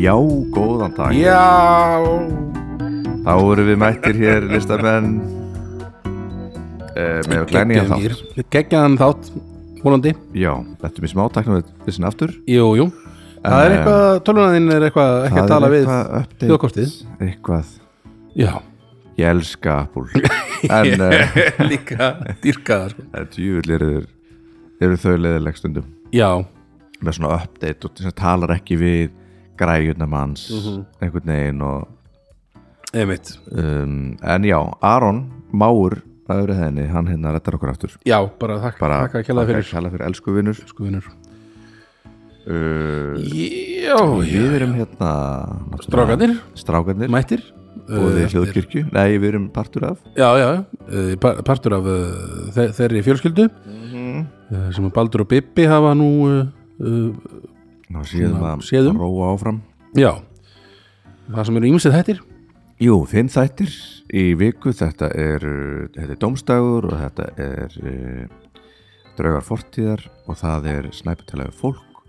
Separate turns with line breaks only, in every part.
Já, góðan dag
Já
Þá erum við mættir hér listamenn uh, með glænýjan þátt
Geggjaðan þátt, vonandi
Já, þetta er mér smá tæknum við vissin aftur
Jú, jú Það er
Eh,
eitthvað, tölunaðinn er eitthvað ekki að
Það er
tala við
eitthvað update,
hljóðkortið
Eitthvað,
Já,
ég elska Apple En uh,
líka dýrkaðar sko.
djúvill eru, þeir- eru þau leðileg stundum
Já,
Með svona update og þess að talar ekki við græjurnar manns
Mhm.
einhvern veginn og
einmitt
um, En já, Aron Máur, það eru henni, hann hérna rettar okkur aftur
Já, bara þakka
Bara
þakka að kjalla fyrir
Kjalla fyrir elsku vinnur
sko vinnur
uh,
Já,
Við erum hérna náttúrulega-
Strákarnir.
Strákarnir
mættir
og
Eh,
þið hljóðkirkju Nei, við erum partur af
Já, já, eh, par- partur af eh, þe- þeirri fjölskyldu
Mhm.
eh, sem að Baldur og Bibbi hafa nú eh, eh,
Ná séðum
Svona,
að
séðum.
róa áfram
Já Það sem eru ímsið hættir
Jú, fimm þættir í viku Þetta er, uh, þetta er Dómstagur og þetta er uh, Draugar fortíðar og það er Snæputalega fólk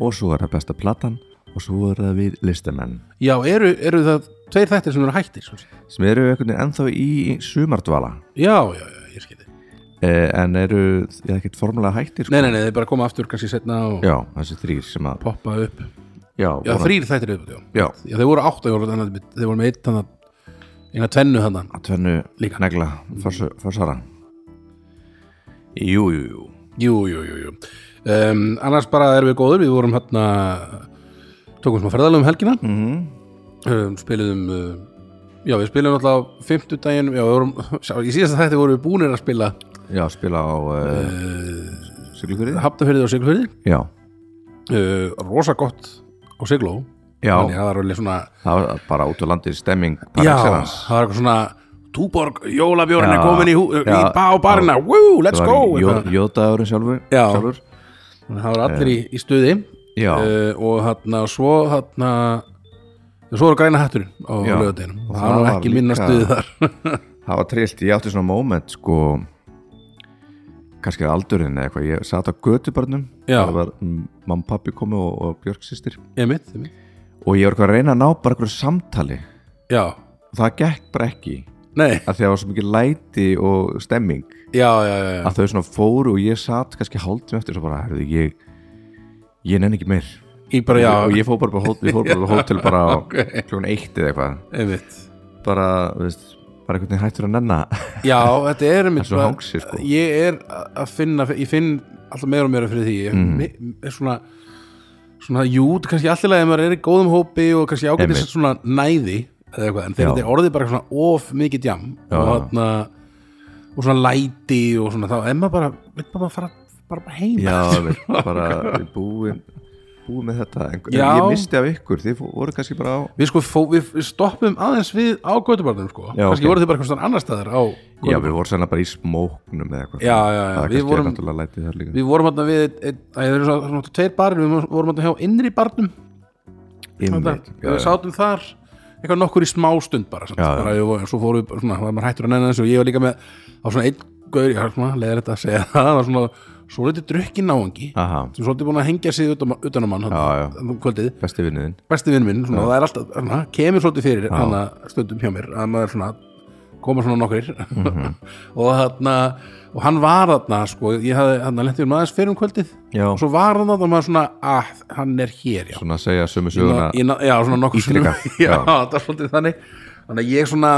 og svo er það besta platan og svo er það við listamenn
Já, eru, eru það tveir þættir sem eru hættir sko? svo. sem?
sem eru einhvern veginn ennþá í sumardvala
Já, já, já, ég sko. skilti
eh, en eru, ég er ekkert formulega hættir sko.
Nei, nei, nei, þeir bara koma aftur kannski setna og
Já, þessi þrýr sem að
poppa upp
Já,
Já,
voru-
þrýr þættir upp, já
Já,
Já, þeir voru átt, þeir voru, annað- þeir voru með eitt þannig eina tvennu þannig
að tvennu
Líka.
negla farsara Mhm. Jú, jú, jú
Jú, jú, jú, jú um, Annars bara erum við góður, við vorum hérna tókum smá ferðalöfum helgina
mm
um, spiluðum uh, já við spiluðum alltaf fimmtudaginn já, við vorum, sjá, í síðasta þætti vorum við búnir að spila
Já, spila á uh,
Eh,
Siglufyrði
hafnafyrði og siglufyrði
Já,
uh, rosa gott á sigló
já
þannig að það var alveg svona
það var bara út á landið stemming par
já, það
excellence.
var eitthvað svona túborg, jólabjórn er
Já,
komin í, hú- í
já,
bá barna, woo, let's
Það
go
var jó-
eitthvað.
jóðdagurinn sjálfur,
Já.
sjálfur
Þannig að það var allir í, í stuði
Já,
uh, og þarna svo þarna svo var græna hatturinn á
Já.
lögadeginum
Og
það var nú
það var
ekki minna
líka-
stuði þar
það var trillt Ég átti svona moment sko kannski að aldurinn eða eitthvað Ég sat á götubarnum
Já.
Það var mm, mamma, pappi komi og, og Björk systir
einmitt, einmitt.
og ég var eitthvað að reyna að ná bara eitthvað samtali
já,
og það gekk bara ekki
nei,
að því að það var svo mikið læti og stemming
já, já, já, já.
að þau svona fóru og ég satt kannski hálftum eftir svo bara, herðu, ég ég nenni ekki meir
Ég bara, já,
og ég fór bara, bara, hót, ég fór bara á hótel bara á okay. klokkan eitt eða eitthvað
einmitt
bara, þú veist, bara einhvern veginn hættur að nenna
Já, þetta er einmitt
svo
bara-
hangsi, sko.
Ég er að finna, ég finn alltaf meira og meira fyrir því Ég mm. er svona, svona jút, kannski allir að maður er í góðum hópi og kannski ágætis
Einmitt.
svona næði eða eitthvað, en þegar
Já.
þetta er orðið bara svona of mikið jam og,
já.
þarna, og svona læti og svona þá er maður bara, veit maður bara fara bara bara heim
já, við, bara við búin búin með þetta, en, en
Já.
ég misti af ykkur þið fó- voru kannski bara á
Við sko, fó, við við stoppum aðeins við á götubarnum sko
Já,
kannski
ok.
voru þið bara eitthvað svona annar staðar á
já, við vorum sennilega bara í smóknum eða eitthvað
Já, já, já, við
það kannski
vorum-
er náttúrulega lætið þar líka
Við vorum hérna við, ein, að ég verið svona, svona tveir barir, við vorum hérna hjá innri barnum
Einmitt,
Þetta,
já,
við
já.
sátum þar eitthvað nokkur í smá stund bara, samt,
Já, já.
bara og svo fórum við bara svona, það var maður hættur að nennan þessu og ég var líka með á svona einn gaur, ég var svona leiðir þetta að segja það, það var svona svo litið drukkin náangi
Aha,
sem svolítið búin að hengja sig utan, utan á mann
Já, já.
hann, um kvöldið,
besti vinnuðinn
besti vinn minn svona, það er alltaf, svona, kemur svolítið fyrir hann að stundum hjá mér, að maður svona koma svona nokkur
Mhm.
og þarna, og hann var þarna sko, ég hafði, hann lenti um aðeins fyrir um kvöldið
Já.
og svo var hann þarna og maður svona að, hann er hér, já
svona að segja sömu söguna
Ég ná- já, svona nokkur
Ítreka,
já,
já.
það var svolítið þannig þannig að ég svona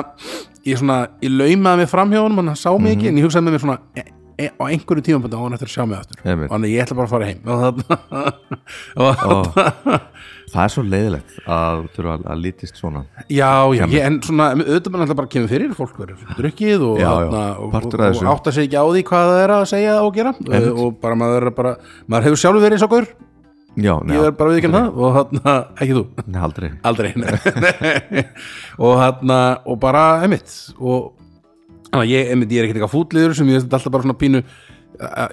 ég svona, ég laumaði mig fram hjá honum en hann sá mig
Mhm.
ekki, en ég hugsaði með mér svona e e á einhverju tímum á hann eftir að sjá mig aftur
Einmitt.
þannig að ég ætla bara að fara heim og það, og
það er svo leiðilegt að þurfa að, að lítist svona
já, já, ég, en svona auðvitað mann alltaf bara kemur fyrir, fólk verður drukkið og,
Já, já,
þarna, og, og,
partur af
og
þessu.
átta sig ekki á því hvað það er að segja og gera
Einmitt.
og bara maður, er bara, maður hefur sjálfur verið eins og gaur
já,
ég er
neða,
bara við ekki það og þarna, ekki þú
neða aldrei
aldrei nei. og þarna og bara emitt og þannig að ég, emitt, ég er ekkert eitthvað fútliður sem ég er alltaf bara svona pínu að-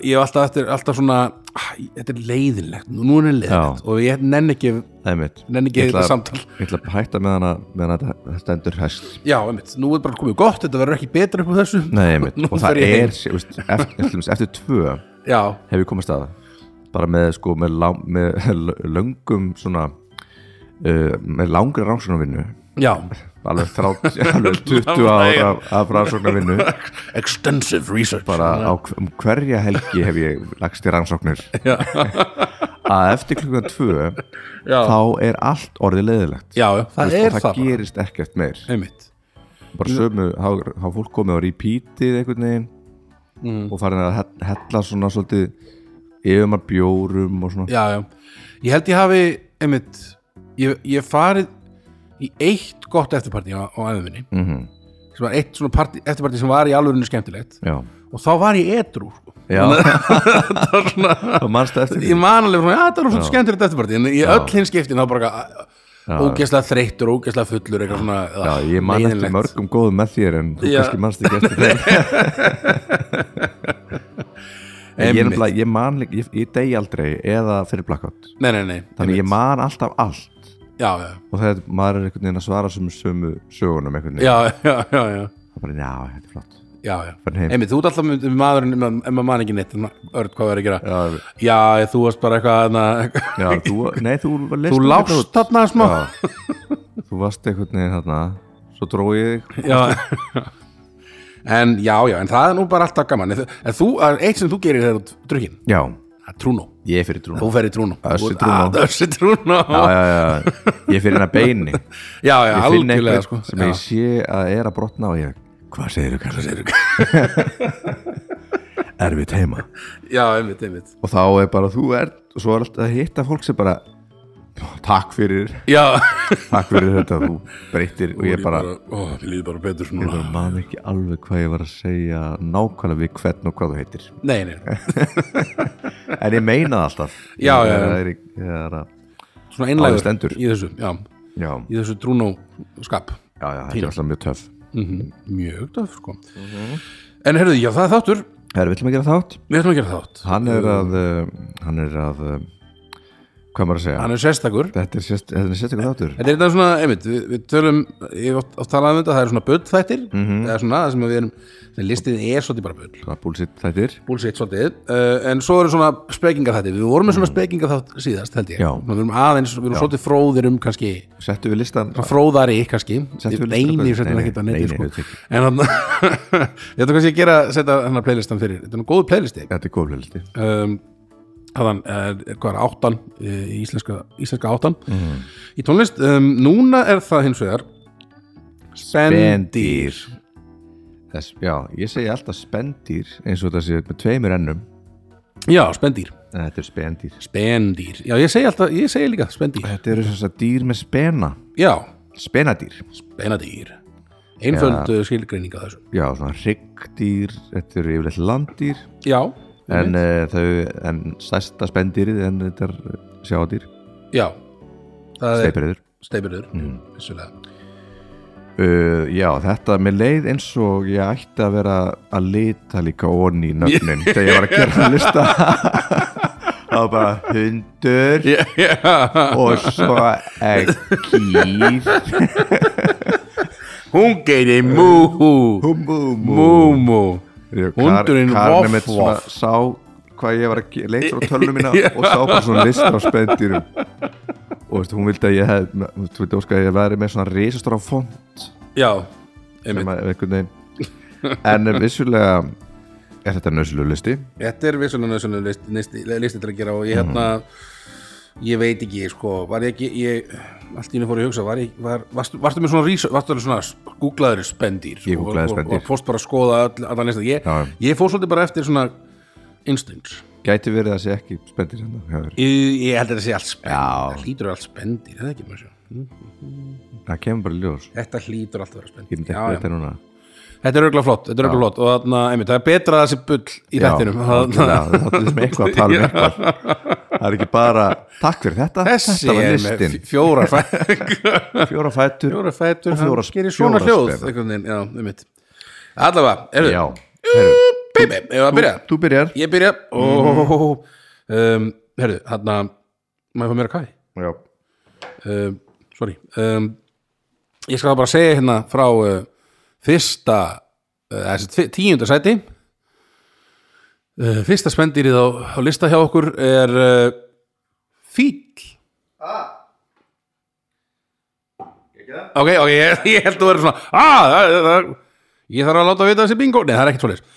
ég hef alltaf eftir, alltaf svona ah, þetta er leiðinlegt, nú- nú er þetta leiðinlegt og ég nenn ekki,
það er mitt
nenn ekki þetta samtal
ég ætla að hætta með hana með hana þetta stendur hæst
já, emitt, nú er bara komið gott, þetta verður ekki betra upp á þessu
Nei, einmitt,
Nú
og það
fer ég heim.
er sé- veist, eftir, til dæmis, eftir tvö
já,
hef ég komast að bara með sko með, lá, með löngum svona uh, með langri rannsóknarvinnu
já
alveg, þrátt, alveg 20
Nei.
ára af rannsóknarvinnu
extensive research
bara á, hv- um hverja helgi hef ég lagst í rannsóknir
já,
að eftir klukkan 2
já,
þá er allt orðið leiðilegt
já, já, það
Þú veist,
er
og
það bara.
gerist ekkert meir
einmitt
bara sömu, þá þá fólk komið á repeatið einhvern veginn
Mm.
og farin að he- hella svona svolítið yfir maður bjórum og svona
já, já. ég held ég hafi einmitt, ég, ég farið í eitt gott eftirparti á, á æðuminni
mm
sem var eitt svona partí, eftirparti sem var í alvörinu skemmtilegt
já,
og þá var ég edrú sko.
já,
Það var svona,
þá manstu eftir því
ég man alveg svona, já, það var svona skemmtilegt eftirparti en í öll hins skiptin þá bara ógeðslega þreyttur, ógeðslega fullur eitthvað svona,
já, ég man eftir
leiðinlegt.
mörgum góðum með þér en þú
Já.
kannski manst ekki eftir þeim En ég, er nefnilega- ég man líka, ég, ég degi aldrei eða fyrir blackout
nei, nei, nei,
þannig ég
einmitt.
man alltaf allt
já, já,
og þegar maður er einhvern veginn að svara sömu, sömu sögunum einhvern veginn
já, já, já, já.
það bara, já, þetta er flott
Já, já.
Farin heim.
Einmitt, þú ert alltaf með með maðurinn ef maður- ef maður man ekki neitt, en örd hvað verður að gera
já,
Já, þú varst bara eitthvað na,
já, þú, nei, þú leist
Þú
þetta
lást
út.
þarna smá
Já. þú varst einhvern veginn hérna svo drói ég þig
já. En já, já, en það er nú bara alltaf gaman En, þú- en þú, en eitt sem þú gerir þegar þú drukkin
já,
Það er trúnó,
ég er fyrir trúna
þú ferð í trúnó
Össi
Þú-
trúnó.
Ah, Össi trúnó
já, já, já, ég er fyrir hennar beini ég
Já, já,
finn
algjörlega
einhvern
sko.
sem
já.
ég sé að er að brotna og ég, hvað segir þú, hvað segir þú erfitt heima
já, einmitt, einmitt
og þá er bara þú er og svo er alltaf að hitta fólk sem bara takk fyrir,
Já,
takk fyrir þetta þú breytir og ég bara
ó, Ég líði bara betur
ég bara
svona
man ekki alveg hvað ég var að segja nákvæmlega við hvern og hvað þú heitir
Nei, nei,
en ég meina það alltaf
Já, já, já.
Það er ekki- það er að-
svona einlægur
Áður stendur.
Í þessu, já,
já,
í þessu trúnó skap
já, já, þetta er alltaf mjög töff Mhm.
Mjög döf, sko En heyrðu, já, það er þáttur
Herra, við ætlum að gera þátt
Við ætlum að gera þátt
hann er að, uh, hann er að uh, hvað maður að segja
Hann er sérstakur
þetta er sérst- þetta er sérstaklega þáttur
Þetta er þetta svona, einmitt, við, við tölum ég hef oft, oft talað um þetta, það er svona bullþættir mm
Mhm.
-hmm. það er svona það sem við erum, sem listið er svolítið bara bull,
það er búlsitt þættir
bullshit svolítið uh, en svo eru svona spekingarþættir, við vorum með svona spekingarþátt síðast, held ég,
Mhm. Já.
Svona við erum aðeins við erum svolítið fróðir um kannski
settu við listan
svona fróðari kannski,
Settum við listan
eini
okkur?
settum
Nei,
ekki þetta
nei,
netti,
nei,
sko
auðvitað ekki.
en þannig, ég ætla kannski að gera setja hennar playlistan fyrir, þetta er nú góðu playlisti
þetta er góð listi
um, hafðan, er, hvað er áttan eh, í íslenska, íslenska áttan í tónlist, um, núna er það hins vegar Spendýr
Þess, já, ég segi alltaf spendýr eins og þetta sé með tveimur ennum
já, spendýr,
en þetta er spendýr
spendýr já, ég segi alltaf, ég segi líka spendýr
þetta eru þess að dýr með spena
já,
spenadýr,
spenadýr einföld ja. skilgreining að þessu
já, svona hryggdýr þetta eru yfirleitt landdýr
já,
en, uh, þau, en stærsta spendýrið en þetta er eh, sjádýr
já það er
steipirður
steipirður vissulega
uh, já þetta með leið eins og ég ætti að vera að lita líka onni í nöfnin þegar ég var að gera að lista þá bara hundur og svo eh, kýr
hún geiri múhú múmú Hundurinn voff,
voff
voff.
sá hvað ég var að ge- leita á tölunum mína og sá bara svona lista á spendýrum og veist, hún vildi að ég hef þú vildi óska að ég væri með svona risastóra font
já, einmitt
sem að einhvern veginn en eh, vissulega er þetta nöðslu listi
Þetta er vissulega nöðsynlega listi, listi, listi til að gera og ég hérna ég veit ekki, sko, var ég ekki ég, allt í henni fór ég að hugsa, var ég var, varstu, varstu með svona rýsa, varstu alveg svona googlaður spendýr
Ég googlaði
og, og, og
spendýr.
fórst bara að skoða all, allan lista ég,
Já.
ég fór svolítið bara eftir svona instincts,
gæti verið að sé ekki spendýr hérna hjá þér.
ég, ég held að þetta sé allt spendýr
Já.
það hlýtur að vera allt spendýr, er það ekki mjög sjá
það kemur bara í ljós
þetta hlýtur alltaf að vera
ég myndi
spendýr já,
ekki þetta
já.
núna
þetta er örgulega flott, þetta er örgulega flott og þarna, einmitt, það er betra að það sé bull í
Já,
þettinum
algjörlega, það er sem eitthvað að tala um eitthvað það er ekki bara takk fyrir þetta,
þessi
þetta var
er með
listin
fj- fjórar fæ-
fjóra fætur
fjóra fætur,
Og fjóra-
hann gerir svona
fjóra
hljóð
spena.
einhvern veginn, já, um mitt allavega, erðu,
Já, Mm-hmm. heru,
baby, ef að byrja
þú byrjar
ég byrja og
Mm-hmm.
um, herðu, hann að maður fá mér að kæði
Já,
um, sorry um, ég skal bara segja hérna frá uh, fyrsta uh, þessi tíunda sæti uh, fyrsta spendýrið á, á lista hjá okkur er uh, fíl ok, ok, ég, ég held að vera svona ah, það, það, ég þarf að láta vita þessi bingo nei, það er ekkert svoleiðis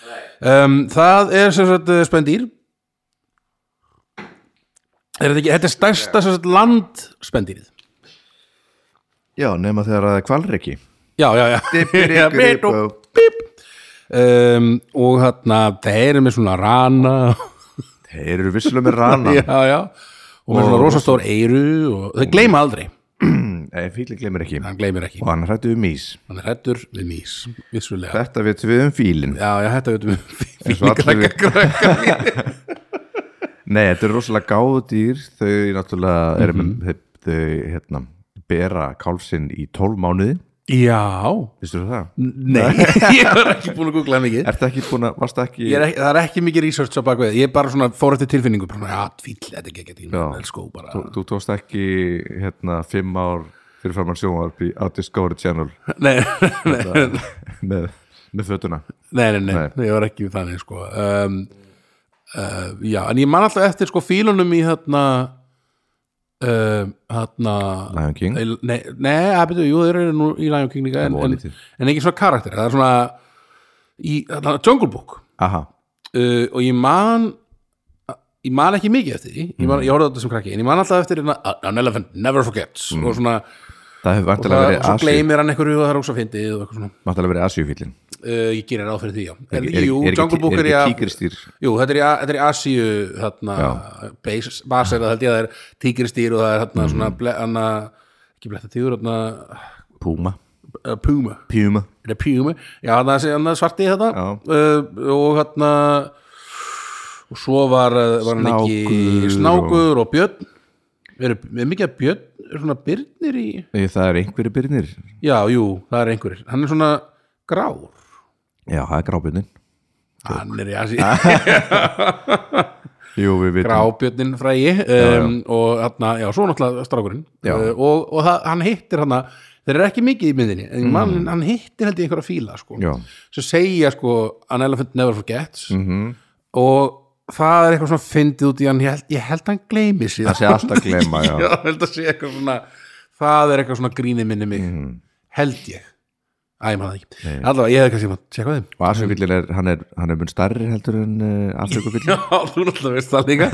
um, það er sem sagt eh, spendýr er þetta ekki, þetta er stærsta sem sagt landspendýrið
Já, nema þegar að það er kvalriki
já, já, já Já, bip, og- bip. um, og þarna þeir eru með svona rana
Þeir eru vissulega með rana
já, já, og með svona rosastór eiru og þeir gleyma aldrei
Nei, fíli glemir ekki
hann gleymir ekki,
Og hann hrættu um ís
hann er hættur við mís vissulega
Þetta veitum við um fílin
já, já, þetta veitum við
og allir
fílingrakka krakka
Nei, þetta eru rosalega gáðu dýr Þau náttúrulega eru
Mhm.
með þau, þau hérna, bera kálfsinn í 12 mánuði
já,
Vistu það?
Mm. Nei, ég var ekki búin að googla það mikið
Ertu ekki búin að, varstu ekki
Ég er ekki, það er ekki mikið research á bakveð ég bara svona fór eftir tilfinningu bara, svona, já, fíll, þetta er ekki ekki
Já.
elskó bara,
Þú, þú tókst ekki hérna fimm ár fyrir framann sjónvarp í- á Discovery Channel
nei, nei, nei,
með, með fötuna
nei, nei, ég var ekki þannig sko um, uh, já, en ég man alltaf eftir sko fílunum í þarna uh, þarna
Lion King
nei, nei, að betur, jú, þeir eru nú í Lion King líka en,
voða
en,
lítið.
en ekki svona karakter, það er svona í, þarna, Jungle Book
Aha,
uh, og ég man ég man ekki mikið eftir því ég,
Mm.
man, ég horfði á þetta sem krakki, en ég man alltaf eftir hérna, an elephant never forgets
Mm.
og svona,
það hefur
og það,
vantilega verið
og svo
Asíu-
gleymir hann einhverju og það er ósa fyndið og eitthvað svona
vantanlega verið asjúfýllin
uh, ég gerir ráð fyrir því, já er,
Er- er-
jú,
er ekki-
Jungle Book
er
er í
ekki
að
tígristýr?
jú, þetta er í, A- þetta er í Asíu þarna, base, basera, held ég að það er tígristýr og það er þarna
Mm.
svona ble, hana, ekki bletta tígur, þarna
Puma
uh, puma
Puma
er það pjúmi já, hann sé hann svarti þetta
Já.
uh, og hann og svo var, uh, var hann
Snákur
ekki
og-
snákur og, björn er, er mikið af björn er svona byrnir í
Nei, Það er einhverju byrnir
já, jú, það er einhverjir hann er svona grár
Já, það er grábjörnin
hann er í asi
Jú, við vitum
grábjörnin frægi um, og hann, já, svo náttúrulega strákurinn
Já.
uh, og, og það, hann hittir hann þeir eru ekki mikið í myndinni en mann, hann hittir held ég einhverja fíla sko.
Já.
svo segja sko an elephant never forgets
Mhm.
og það er eitthvað svona fyndið út í hann, ég held, ég held hann gleymi sér
Það sé alltaf gleyma, já.
ég held að sé eitthvað svona það er eitthvað svona grínið minni mig held ég, æ, ég maður það ekki allavega, ég hefði kannski maður, tjekka á þeim
Og asjúfýllin er, hann er, hann er mun starri heldur en uh,
já,
afturkufýllin
þú náttúrulega veist það líka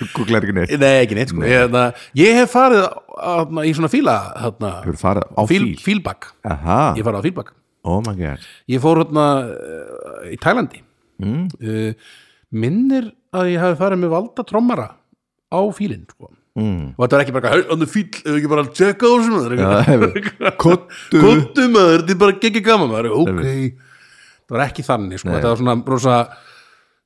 Google er ekki neitt
nei, ekki neitt, sko, ég, hérna, ég hef farið hérna, í svona fíla hérna,
Þú eru farið á fíl Ah.
fíl, fílbak,
Aha,
ég hef farið á fílbak
oh my god
ég fór hérna uh, í Tælandi
mm.
uh, minnir að ég hafi farið með valda trommara á fílinn, sko
Mm.
og þetta var ekki bara on the field, ef ekki bara að checka á þessu maður
Já, hefur- Kottu
kottu maður, þetta er bara geggjur gaman maður ok, það var ekki þannig sko. þetta var svona rosa,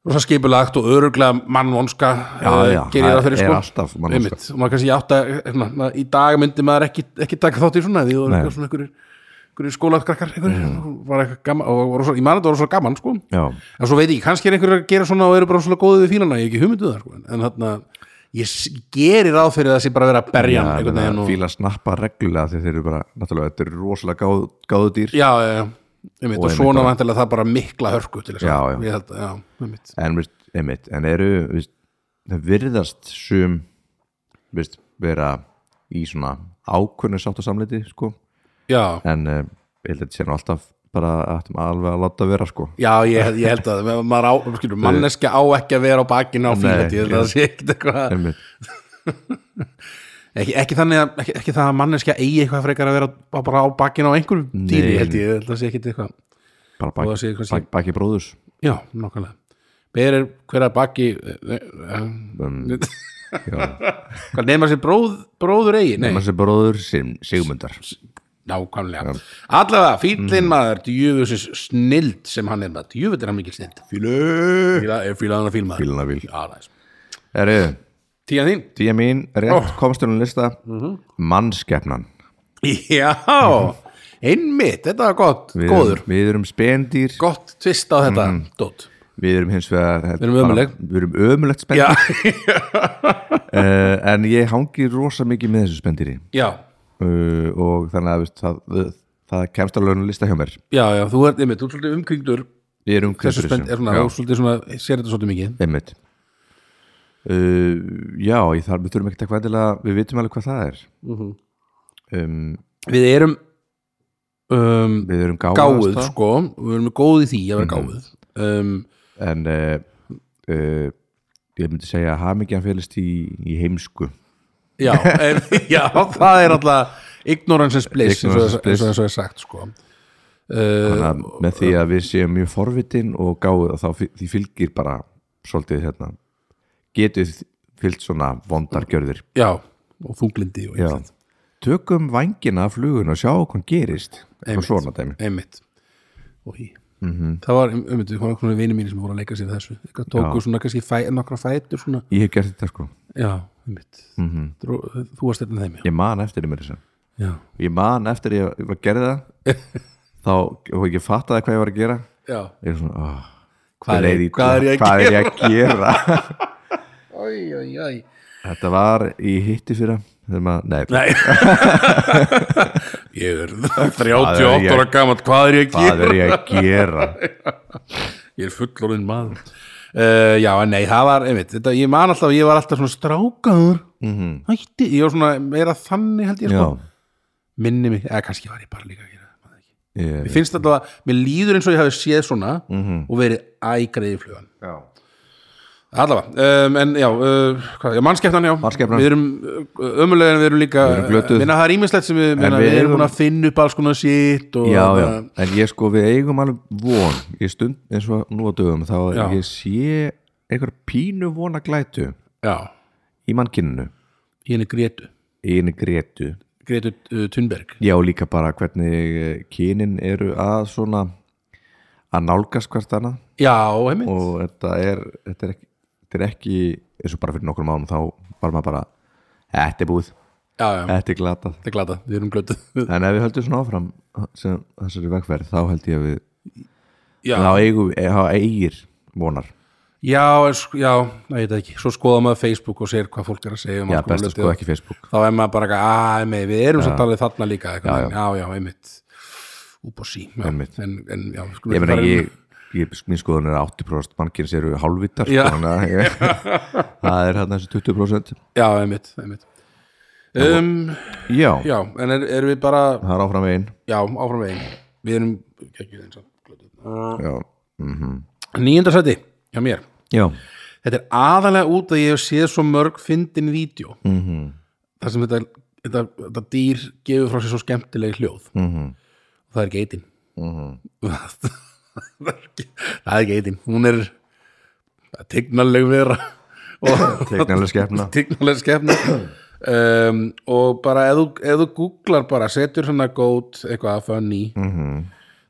rosa skipulagt og öruglega mannvonska
Já, já,
gerir
það
það fyrir
er
sko
alltaf mannvonska.
Einmitt. og maður kannski átt að hérna, maður- í dag myndi maður ekki, ekki taka þátt í svona því það var
Nei. Mm.
eitthvað svona einhverjir einhverjir skólakrakkar einhverjir, var eitthvað gaman og var rosa, ég man að þetta var rosa gaman sko
Já,
en svo veit ég, ekki, kannski er einhverjur að gera svona og eru bara svona góðið við fílana, ég er ekki hugmynduð það sko. en þarna, ég s- geri ráð fyrir að það sé bara að vera að berja hann einhvern veginn og...
fíla snappa reglulega þegar þeir eru bara, náttúrulega, þetta eru rosalega gáð, gáðu dýr
já, já, já, einmitt,
Og
og,
einmitt
svona
bara-
vantilega það bara mikla hörku til þess
Já,
að-
já.
ég held að, já, einmitt
en, veist, einmitt, en eru veist, það virðast sum veist, vera í svona ákvörnu sátt og samleiti sko.
já,
en eh, ég held að þetta sé nú alltaf bara aftum alveg að láta vera sko.
já, ég, held- ég held að maður á, skilur, manneskja á ekki að vera á bakinu á fílandi, ég held að það sé ekkit eitthvað
einmitt,
ekki, ekki þannig að, ekki, ekki það að manneskja eigi eitthvað frekar að vera á, bara á bakinu á einhverjum dýri,
Nei.
held ég, ég held að það sé ekkit eitthvað
bara
Og
bak,
það sé eitthvað
bak, baki bróðus
já, nokkulega Ber er hver að baki eh, eh,
um, já,
Hvað nefna sér bróð, bróður eigi? Nei,
þessi bróður sem Sigmundar
nákvæmlega. Allavega,
Mm.
fýllin maður, djöfusins snild sem hann er maður. Djöfull er hann mikil snild.
fílu
Fýla, er fýlaðan að fýlmaður?
fíluna vil
Já, næs.
eru,
Tíðan þín?
tíja mín, rétt komstunum lista
Mhm.
mannskeppnan
Já, einmitt, þetta var gott,
við
góður.
erum, við erum spendýr
Gott tvist á þetta, mm. dótt.
Við erum hins vegar Við
erum ömuleg.
Við erum ömulegt
Já,
spendýr uh, En ég hangi rosa mikið með þessu spendýri
já,
uh, Og þannig að veist, það, það kemst alveg að lista hjá mér
já, já, þú ert, einmitt, þú ert svolítið umkringdur.
Við erum
Þessu spennt er svona,
Já,
þú ert svolítið svona, sér þetta svolítið mikið.
einmitt Eh,
Mhm.
uh, Já, ég þarf, við þurfum ekkert eitthvað endilega Við vitum alveg hvað það er mm um,
við erum um,
við erum gáð
gáð sko, við erum góð í því að vera gáð um,
en uh, uh, ég myndi segja að hamingjan félist í, í heimsku
já, en, já, það er alltaf ignorance is bliss eins og
Ignorance
eins
is
og- eins og er sagt sko uh,
Þannig að
Eh,
með því að við séum mjög forvitin og gáðu þá fy- því fylgir bara svolítið hérna getur fyllt svona vondargjörðir
já, og þunglindi og
Já.
eitthvað.
tökum vængina af flugun og sjá hvað gerist og
Einmitt.
svona dæmi
einmitt og hí það var um- einmitt, það var einhvern veginn mínir sem voru að leika sér að þessu eitthvað tóku svona kannski fæ, nokkra fætur svona,
ég hef gert þetta sko,
já, einmitt Dró, þú varst þetta þeim já,
ég man eftir því mér þess að
Mhm. já,
ég man eftir ég, ég var að gera það þá og ég fattaði hvað ég var að gera
já.
ég er svona, oh,
Hvað er- hvað er ég að
hvað er ég að gera
Æj, æj, æj.
þetta var í hitti fyrir þegar maður, nei,
nei ég er 38 ára gammal hvað er ég að gera
hvað er ég að gera
ég er fullorðin maður uh, já, en nei, það var, einmitt þetta, ég man alltaf, ég var alltaf svona strákaður
Mhm.
-hmm. hætti, ég var svona meira þannig held ég
já,
sko, minni mig eða kannski var ég bara líka að gera það, maður ekki.
ég,
mér finnst alltaf að, mér líður eins og ég hafi séð svona
Mhm.
-hmm. og verið ægreiði flugan
já.
allavega, um, en já, uh, hvað, já mannskeptan já,
Mannskepnan.
við erum ömulegin, við erum líka,
Við erum glötuð.
minna það er ímislegt sem við, minna,
við
við, erum
eigum-
búin að finna upp alls konar sitt og uh,
já, já,
þarna-
en ég sko við eigum alveg von í stund eins og nú á dögum þá
Já.
ég sé einhver pínu vona glætu
já,
í mannkinninu,
í henni Gretu
í henni grétu
Gretu uh, Thunberg
já líka bara hvernig eh, kynin eru að svona að nálgast hvert annað
já, einmitt
og þetta er, þetta er, ekki, þetta er ekki eins og bara fyrir nokkrum mánum þá var maður bara, þetta er búið
já, já.
þetta er glatað
Þetta er glata, við erum glötuð
en ef við höldum svona áfram sem þessari vegferð þá held ég að við
Já,
þá eigum, við- þá eigir vonar
já, en sk- já, næ, ég veit það ekki Svo skoða maður Facebook og sér hvað fólk er að segja um
Já,
alls konar
best að
hluti
sko
og-
ekki Facebook
Þá er maður bara ekki, að, emi, við erum samt alveg þarna líka Já, já, já, já einmitt Úp og sí, já,
Einmitt.
En, en, já, við skulum
Ég
ekki
meina,
fara
ég,
um-
ég minn skoðun er að 80% mannkins eru hálfvitar sko,
Já.
þannig að ég- Það er hann þessi 20%
Já, einmitt, einmitt um,
Já,
Já, en er, erum við bara
það er áfram einn
Já, áfram veginn Við erum, ekki eins og glötuð
Já,
Nýjunda sæti, hjá mér
já,
þetta er aðalega út að ég hef séð svo mörg fyndin vídeo mm -hmm.
Mhm.
þar sem þetta, þetta, þetta dýr gefur frá sér svo skemmtilegi hljóð mm -hmm.
Mhm.
og það er ekki eitin mm -hmm. það er ekki eitin hún er tignaleg vera og
teiknarlega skefna
tignaleg skefna um, og bara ef þú, ef þú googlar bara, setur svona gót eitthvað að funny
Mhm.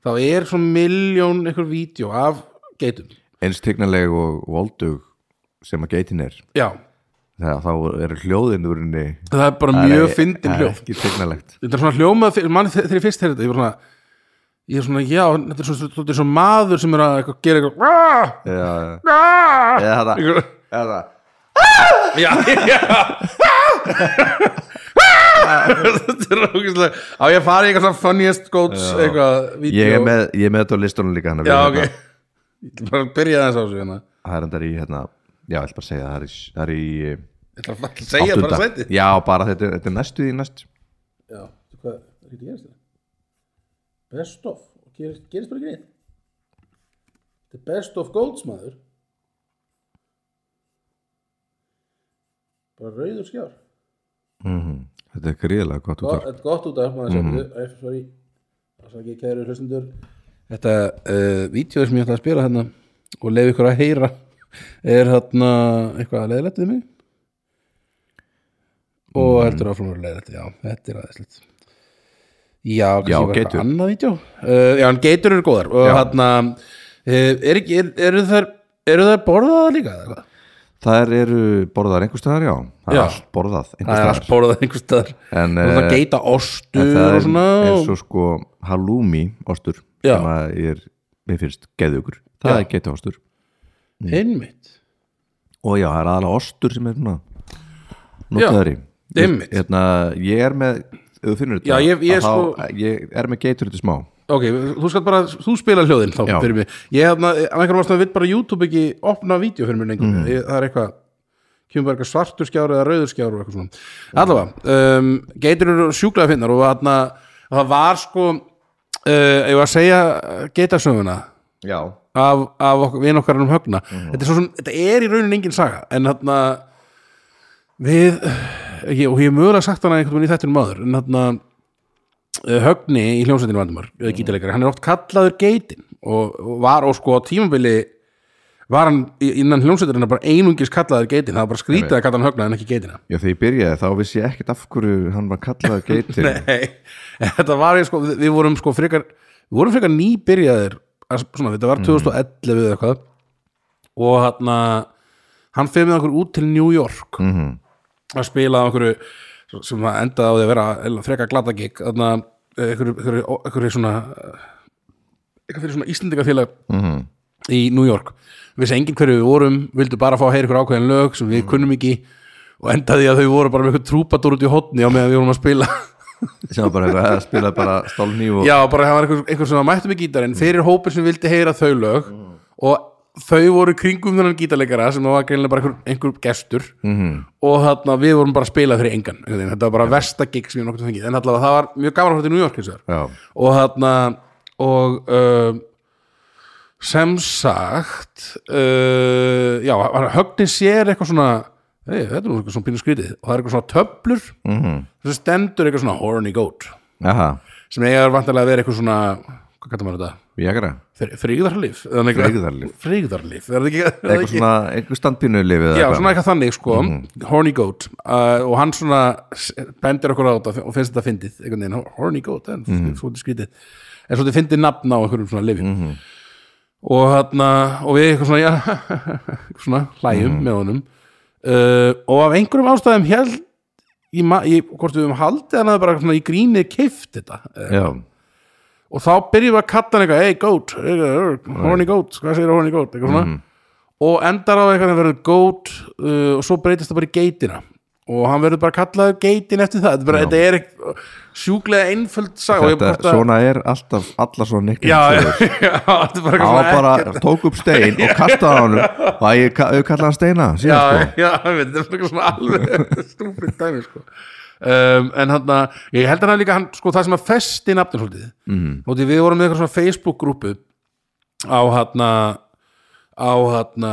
þá er svo miljón eitthvað vídeo af geitum
Eins teiknarlega og voldug sem að geitin er
já,
Þegar þá eru hljóðin úr henni
það er bara
Það er- e-
mjög fyndin
það er
hljóð
Ekki teiknarlegt
þetta er svona hljómað fyrir- mann þegar ég fyrst heyrði þetta ég var svona ég er svona já þetta er svona þetta er svona maður sem er að eitthvað, gera eitthvað "Ah,
Já,
ah",
eða þetta
eitthvað-
Eða þetta
já já Ah! þetta er ógeðslega á ég að fara í eitthvað svona funniest goats eitthvað vídeo
Ég er með, ég er með þetta á listunum líka þannig að
já
við
ok
hérna-
ég ætla bara að byrja þess á þessu hérna
Það er endar í hérna Já, ég ætla bara að segja það er í- það er í
ég ætla bara að segja bara
Áttunda.
sæti
Já, bara þetta, er- þetta er næstu því næst
já hvað getur gerist þetta hérna? best of gerist, gerist bara greið þetta er best of goats maður bara rauður skjár
Þetta er gríðilega gott Mhm. út af
þetta er gott út af maður mm -hmm. sorry, það ekki kæru hlustundur þetta uh, vídeo sem ég ætla að spila hérna og leif ykkur að heyra er þarna eitthvað leðilegt við mig og
Mhm.
heldur áfram að leðilegt já, þetta er aðeins lit já, kannski
Já,
bara eitthvað
geitur.
annað vídeo uh, já, en geitur eru góðar og
Já.
þarna uh, er ekki, er, eru þær eru þær borðaða líka eða hvað?
Það eru borðaðar einhver staðar, já
Já.
Það er allt borðað einhver
það er allt
staðar
borðað einhver staðar
En,
og það
eh,
geita ostur
En það
og
er
svona
eins og sko halloumi ostur
Já.
sem að er, mér finnst, geðugur Það er geta ostur
einmitt
Og já, það er aðalega ostur sem er svona notaður í
einmitt.
Hérna, ég er með, ef þú finnur
Já,
þetta
ég- ég
að
sko-
þá, ég er með geitur þetta smá
Ok, þú skalt bara, þú spila hljóðin þá
Já.
fyrir hérna, eh, mig. Ég hef, af einhverjum ástæðum vill bara YouTube ekki opna vídeo fyrir mig lengur. Ég, það er eitthvað, kemur bara eitthvað svartur skjár eða rauður skjár og eitthvað svona allavega, um, geitur eru sjúklega finnar og þarna, það var sko uh, ég var að segja geitarsöfuna
Já,
af, af okkur, vin okkar um högna þetta, er svo sem, þetta er í raunin engin saga en þarna við, ég, og ég hef mögulega sagt hana einhvern veginn í þættunum maður en þarna eh, högni í hljómsveitinu vandumar eða gítileikari, hann er oft kallaður geitin og, og var og sko á tímabili var hann í- innan hljómsveiturinn bara einungis kallaður geitin, það var bara skrítið að kalla hann högna en ekki geitina
já þegar ég byrjaði þá vissi ég ekkert af hverju hann var kallað geitin
Nei, þetta var ég sko við við vorum sko frekar við vorum frekar nýbyrjaðir að- svona, þetta var 2011 eða eitthvað og hann hann fyrir með okkur út til New York -hmm. að spila á okkur sem það endaði á því að vera eiginlega frekar glata gig þannig að einhverju svona eh, eitthvað fyrir svona Íslendingafélag
Mhm.
í New York vissi enginn hverju við vorum, vildu bara fá að heyra ykkur ákveðin lög sem við kunnum ekki og endaði að þau voru bara með eitthvað trúpadur út í hotni á meðan við vorum að spila
sem var bara eitthvað að spila bara stálnýf og
Já, bara það var einhver, einhver sem var mættum í gítarinn fyrir hópur sem vildi heyra þau lög og þau voru í kringum þennan gítarleikara sem var greinlega bara einhver, einhver gestur -hmm. og þarna við vorum bara að spila fyrir engan einhvern veginn. þetta var bara versta gig sem ég nokkuð fengið en allavega það var mjög gaman að hóta í New York hins vegar
Já,
og þarna og uh, sem sagt uh, já, hann- högnin sér eitthvað svona hey, þetta er nú eitthvað svona pínu skrítið og það er eitthvað svona töflur mm -hmm. þessu stendur eitthvað svona horny goat
aha,
sem eiga vantarlega að vera eitthvað svona hvað kallar maður þetta?
viagra
Fri- Frigðarlíf? eða eitthvað-
Frigðarlyf.
Frigðarlyf, er það ekki? er það
eitthvað
ekki-
svona, Mhm. eitthvað standpínu lifið
Já, svona eitthvað þannig sko Horny Goat uh, og hann svona s- bendir okkur á þetta og finnst þetta fyndið einhvern veginn, Horny Goat, en
Mhm.
mm. svolítið skrítið en svolítið fyndið nafn á einhverjum svona lifjum
Mhm.
og þarna og við eitthvað svona, já, eitthvað svona hlæjum
Mhm.
með honum uh, og af einhverjum ástæðum held ég, ma- ég, hvort við höfum haldið hann að bara svona í grínið keift þetta uh,
Já,
og þá byrjum við að kalla hann eitthvað hey goat, hey, uh, horny goat hvað segir horny goat, eitthvað
Mhm.
svona og endar á eitthvað að verður goat uh, og svo breytist það bara í geitina og hann verður bara kallaður geitin eftir það þetta, er bara, þetta er ekk- sjúklega einföld sag
þetta, svona er alltaf alla svona nicknames
já, já,
eru.
já, þetta er bara
Hann var
eitthvað svona
bara, tók upp stein og kastaði á hann og ég ka- ég kallaði hann steina
já,
síðan sko
já, ég veit, þetta er bara eitthvað svona alveg stúfrið dæmi sko. um, en hann að, ég held að hann líka hann, sko, það sem að festi nafnir svolítið
Mhm.
mm. og því við vorum með eitthvað svona Facebook-grúpu á hann að á hann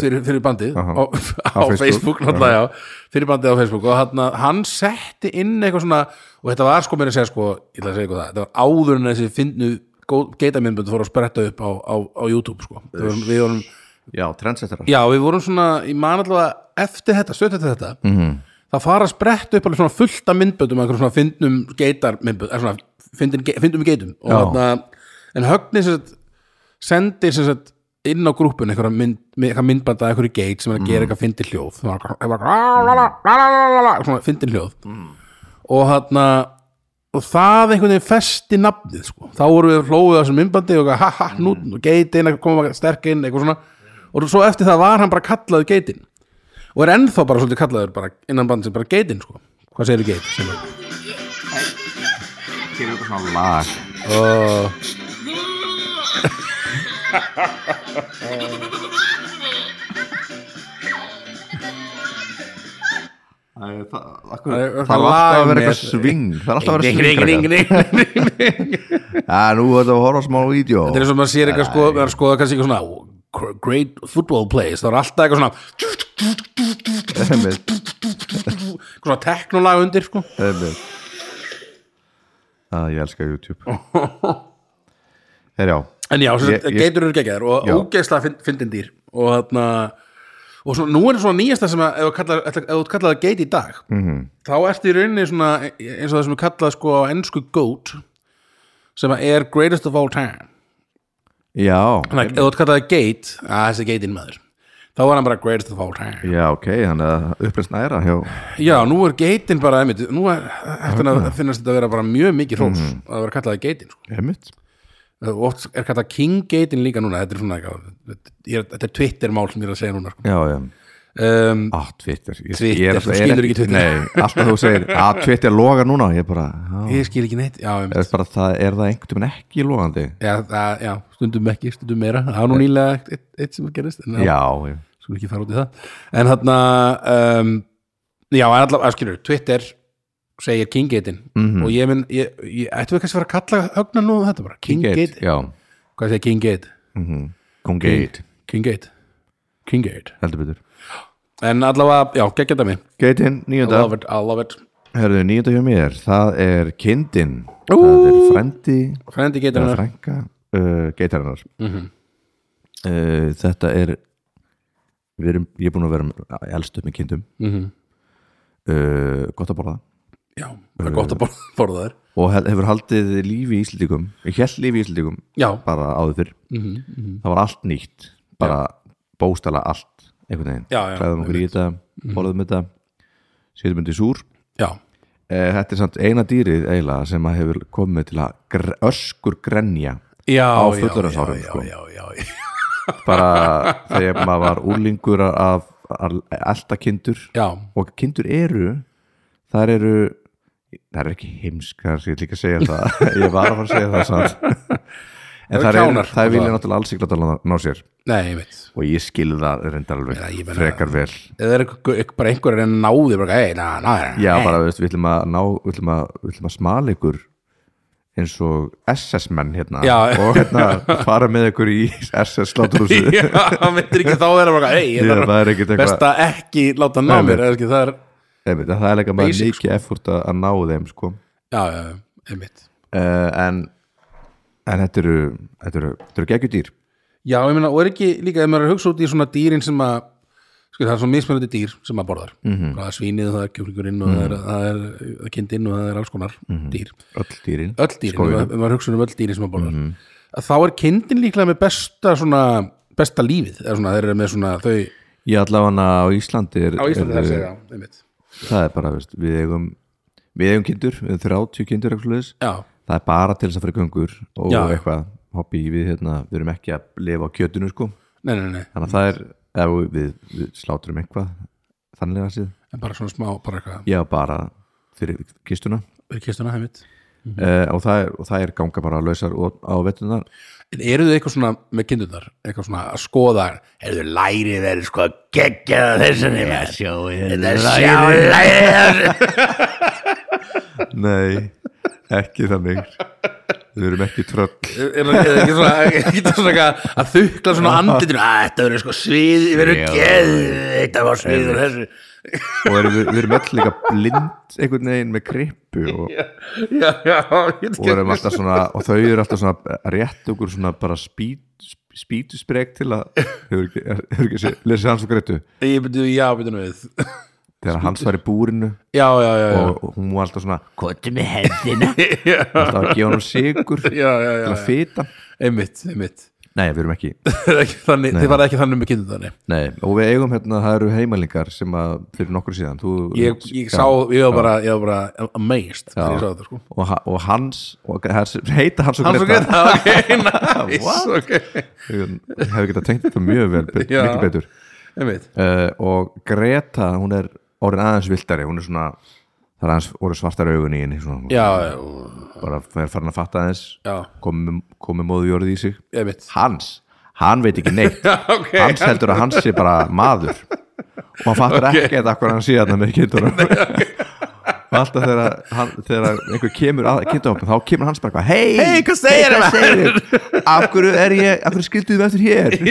fyrir, fyrir bandið
Aha.
á, á
Á Facebook.
Facebook náttúrulega, já, fyrir bandið á Facebook og hann, hann setti inn eitthvað svona og þetta var sko mér að segja sko, ég ætla að segja eitthvað það þetta var áður en þessi finnu geitamindböndu fór að spretta upp á, á, á YouTube sko, Við vorum- við vorum
Já, trendsettara
Já, við vorum svona, ég man allavega eftir þetta, stöðt eftir þetta -hmm. það fara að spretta upp alveg svona fullta myndböndum einhverjum svona fyndnum geitar myndbönd, svona fyndin, ge- fyndum geitum og
Já.
þarna, en högni sem sagt, sendir sem sagt inn á grúppun einhverja mynd, mynd, eitthvað myndband að einhverju geit sem er að gera eitthvað fyndin hljóð það var eitthvað- eitthvað "Ah, la, la, la, la, la, la, la, svona fyndin hljóð og þarna og það einhvern veginn festi nafnið sko. þá vorum við hlófið á þessum myndbandi og eitthvað, ha ha, nú, nú geitin, eitthvað, koma sterk inn eitthvað svona, og svo eftir það var hann bara kallaður geitin og er ennþá bara svolítið kallaður bara innan bandi sem bara geitin sko. hvað segir geit? Sem er,
Hér er eitthvað svona lag Það er- það- akkur-
Það er eitthvað
það er alltaf að vera
lag
eitthvað
með-
sving Það er alltaf að vera sving krakkar.
Þetta
Já, nú er þetta að horfa á smá vídeo
er eins og maður sér eitthvað sko, maður er að skoða kannski eitthvað svona great football plays, þá er alltaf eitthvað svona
Einmitt,
eitthvað svona teknolaga undir sko.
einmitt. Að ég elska YouTube Herjá
En já, sem
Ég-
sagt,
ég-
geitur eru geggjaðar og
Já.
ógeðslega fyndin dýr og þarna og svona, nú er svona nýjasta sem að ef þú kallar- ef þú kallar það geit í dag -hmm.
Mhm.
þá ertu í rauninni svona eins og það sem er kallað sko á ennsku goat sem að er greatest of all time
Já,
þannig að ef þú kallar það geit að þessi geitin maður þá er hann bara greatest of all time
já, ok Þannig að uppreist næra hjá
já, nú er geitin bara einmitt, nú er, eftir að finnast þetta að vera bara mjög mikið hrós að vera kallað geitin sko.
Einmitt
og oft er kallað king geitin líka núna þetta er svona eitthvað, ég er- þetta er Twitter mál sem ég er að segja núna sko.
Já, já
um,
Á, Ah, Twitter Ég-
Twitter,
ég er
þú
alltaf- er
skilur ekki Twitter.
Nei, alltaf þú segir að Twitter logar núna Ég bara, já
ég skil ekki neitt já, ég
Er, bara, það, er það einhvern veginn ekki logandi?
já, það, já, stundum ekki, stundum meira það var nú nýlega eitt, eitt, eitt sem gerist en,
Já, já.
svo skulum ekki fara út í það en þarna um, já, en allavega, skilur, Twitter segir King Gate-in
Mhm.
og ég minn, ég, ég, ættum við kannski að fara að kalla högna nú um þetta bara, King Gate,
já
hvað segir King Gate
mhm. Kongate,
King Gate King Gate,
heldur betur
en allavega, já, geggja dæmi
Gatein,
I
nýjönda
love it, I love it
Herðu, nýjönda hjá mér, það er kindin Það er frendi
Frendi Gate hennar
eða frænka uh, geitarinnar
Mhm.
uh, Þetta er við erum, ég er búin að vera elst upp með kindum
Mhm.
uh, gott að borða
já, það er gott að borða, borða þær
og he- hefur haldið lífi í Íslendingum ég held lífi í Íslendingum
já,
bara áður fyrr
Mhm,
það var allt nýtt bara bóstala allt einhvern veginn,
Já, Mhm. já,
klæðum okkur í þetta borðum þetta, setjum þetta í súr
já,
Eh, Þetta er samt eina dýrið eiginlega sem að hefur komið til að gr öskur grenja
já
Á
já,
fullorðinsárum,
já,
sko.
já, já, já,
bara þegar maður var úlingur af að elta kindur
já,
og kindur eru þar eru það er ekki heimskar, ég ætla ekki að segja það ég var að fara að segja það samt en
eru
það er,
kjánar.
það vilja náttúrulega alls ekki láta ná- ná sér
nei, ég veit
og ég skil það reyndar alveg
Já, ég meina-
frekar vel
eða er einhver- einhver- bara einhver er að ná því bara, hey, na, na, na,
já
hey.
bara veist, við ætlum að ná við ætlum að, við ætlum að smala ykkur eins og SS menn hérna
Já.
og hérna fara með ykkur í SS sláturhúsi
já, hann myndir ekki þá vera bara, hey, ég
það
þarf
er ekkert eitthvað
best að ekki láta ná
Nei,
mér
nei.
eða ekki, það er,
Einmitt, það er leika maður
Basic,
mikið effort að, að ná þeim sko.
já, já, já, einmitt
uh, en, en þetta eru þetta eru, þetta eru geggjudýr
já, ég meina, og er ekki líka, ef maður er að hugsa út í svona dýrin sem að skil, það er svona mismunandi dýr sem maður borðar -hmm. það er svínið, það er kjúklingurinn og það er, það er, það er kindinn og það er alls konar dýr
öll dýrin
öll dýrin, ef
Skógurinn.
maður- ef maður hugsa um öll dýrin sem maður borðar að þá er kindin líklega með besta svona, besta lífið eða svona, þeir eru með svona, þau
ég allavega á Íslandi, er,
á Íslandi þar
er,
segja, já, einmitt
það er bara veist, við eigum við eigum kindur, við eigum 30 kindur eitthvað svoleiðis.
já,
það er bara til þess að fyrir göngur og
Já.
eitthvað hoppi í við hérna, við erum ekki að lifa á kjötinu sko.
nei, nei, nei,
þannig að það er ef við, við sláturum eitthvað þannig að séð,
en bara svona smá, bara eitthvað
já bara fyrir kistuna
fyrir kistuna, einmitt
uh, og, það er, og það er ganga bara lausar og- á vettunar
En eru þau eitthvað svona með kindurnar, eitthvað svona að skoða, eru þau lærið er sko að gegja þessinni með sjóið, þetta er sjáið lærið.
Nei, ekki þannig Við erum ekki tröll
Er það ekki svona, ekki svona eitthvað að þukla svona andlitinu, að þetta verður sko svið, við
Já.
verðum geðið, þetta var svið og þessu.
og erum, við, við erum öll líka blind einhvern veginn með krippu og,
Já, já, ég veit
og, erum alltaf svona, og þau eru alltaf svona að rétt okkur svona bara spýt, spýtusprek til að hefur ekki, hefur ekki sé, lesið hans og greitu
ekki, ég byrju, já, byrju nú við.
þegar hans var í búrinu
Já, já, já, já,
og, og hún var alltaf svona kvotu með hendina alltaf að gefa hann sigur til
já, já, já,
að fita
einmitt, einmitt.
Nei, við erum ekki
Það er ekki þannig, þið var ekki þannig með kindurnar, nei.
Nei, og við eigum hérna, það eru heimælingar sem að fyrir nokkur síðan þú,
Ég, ég sá, ég var bara, ég var bara amazed þegar ég sá þetta, sko.
og, ha- og hans og hans, heita hans og
Hans og
Greta
Greta, ok, nice,
What?
ok
ég hef getað tengt þetta mjög vel be-
Já.
miklu betur
Einmitt,
uh, og Greta, hún er orðin aðeins viltari, hún er svona það er aðeins orðin svartar augun í henni svona,
já, já, og-
bara er farin að fatta aðeins
já,
komið komi móðjórið í sig
einmitt
hans, hann veit ekki neitt
Ok,
hans heldur að hans sé bara maður og hann fattar okay. ekki þetta hvað hann sé þarna með kindunum og alltaf þegar, hann, þegar einhver kemur að kindunum þá kemur hans bara eitthvað hei,
Hey, hvað segirðu,
hey, segir af hverju er ég, af hverju skilduðum eftir hér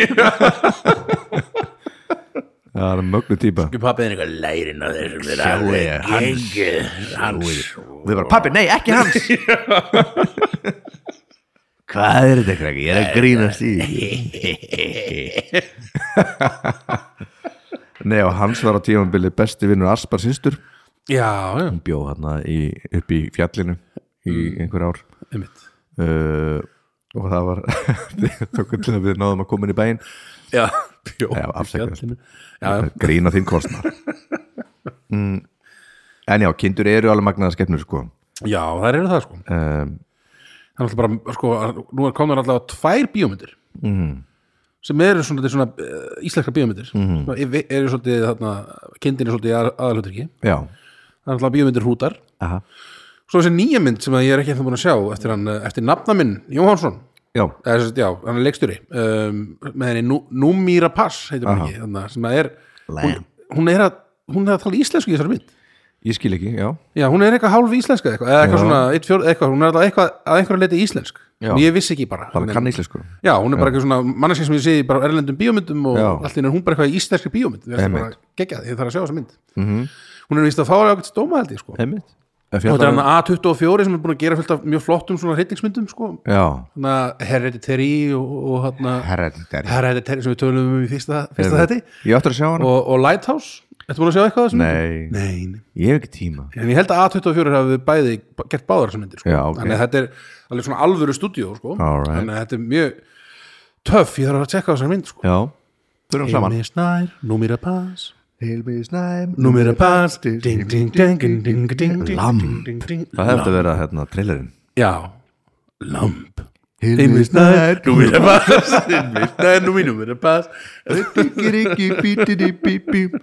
það er mögnu típa
ekki pappiðin eitthvað lærin á þessum þeir
ég, hans.
Hans, hans.
og við bara, pappi, nei, ekki hans hvað er þetta krakki, ég er að grínast í nei, og hans var á tímanbili besti vinnur Aspar Sinstur
Já, já,
bjóð hérna í, upp í fjallinu í einhver ár
einmitt
uh, og það var tókum til að við náðum að koma inn í bæinn
Já, bjó
Já, afsakaðu.
Já, já,
grína þín kostnar mm. en já, kindur eru alveg magnaða skepnur sko
já, þær eru það sko
um,
Það er alltaf bara, sko, nú er komnar allavega tvær bíómyndir
mm,
sem eru svona, þetta er svona uh, íslenska bíómyndir
Mhm.
mm -hmm. eru svolítið þarna kindin er svolítið aðalutur ekki
já,
það er alltaf bíómyndir hútar
aha
svo þessi nýja mynd sem að ég er ekki eftir búin að sjá eftir, hann, eh, eftir nafna minn, Jóhansson
já, já,
Það er sem sagt, já, hann er leikstjóri um, með henni Nú- Númíra Pass heitir hann
Aha.
ekki, þannig að sem að er
Lamb.
hún, hún er að, hún er að tala íslensku í þessari mynd
ég skil ekki, já
Já, hún er eitthvað hálf íslenska eitthvað, eða eitthvað
Já.
svona, eitt fjór, eitthvað, hún er alltaf eitthvað að einhverja leiti íslensk,
Já.
en ég vissi ekki bara
bara
Hún er-
kann íslensku
Já, hún er bara eitthvað svona manneskja sem ég sé í bara erlendum bíómyndum og
Já.
allt í einu er hún bara eitthvað í íslenska bíómynd Mér finnst það
Einmitt. Mhm.
bara geggjað, ég þarf að sjá þessa mynd Hún er víst að fá ágætt stóma held ég sko
einmitt En
Og þetta er
fjallar
hann
um-
A24 sem er búin að gera fullt af mjög flottum svona reytingsmyndum sko
já,
Þannig að Hereditary og, og hann
herreditari
Hereditary sem við tölum um í fyrsta, fyrsta þetta
ég áttur að sjá hana
og, og Lighthouse, ertu búin að sjá eitthvað af þessum myndum?
nei,
Nei, nei
ég hef ekki tíma
En ég held að A24 hafi bæði gert báðar þessar myndir sko.
Já, ok.
Þannig að þetta er alveg svona alvöru stúdíó sko.
Alright.
Þannig að þetta er mjög töff, ég þarf að tjekka þessar mynd sko.
já, þurfum saman
Heimi snær, númir að pass
Hilmi snæm
Númir að pass Ding, ding, ding, ding, ding, ding, ding
Lamb.
ding, ding, ding.
það hefði að vera hérna trailerinn
Já, lamp Heimi snær, númir að pass Heimi snær, númir að pass
El,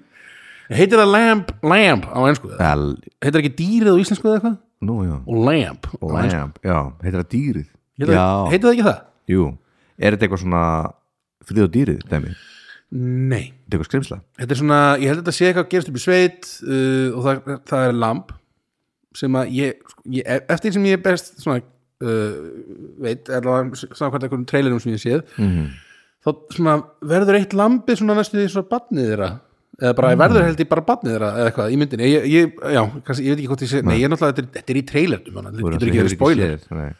Heitir það lamp, lamp á einsku Heitir ekki dýrið á íslensku eða eitthvað?
nú já
Og lamp á ensku.
Lamb, já, heitir það dýrið
Heitir það-
Já,
Heitir það ekki það?
jú, er þetta eitthvað svona frið og dýrið, dæmi, þetta
Nei
er eitthvað skrimsla
Þetta er svona, ég held að þetta sé eitthvað að gerast upp í sveit uh, og það, það er lamp sem að ég, sko, ég eftir því sem ég er best svona uh, veit, allavega samkvæmt einhverjum trailerum sem ég séð
Mhm.
þá svona verður eitt lampi svona næstu því svona badnið þeirra eða bara verður held ég bara badnið þeirra eða eitthvað í myndinni, ég, ég, já, kannski, ég veit ekki hvort ég sé, nei, ég er náttúrulega, þetta er, þetta er í trailerum þannig að
Þú
þetta
náttúrulega
getur ekki verið spoiler
séð, nei.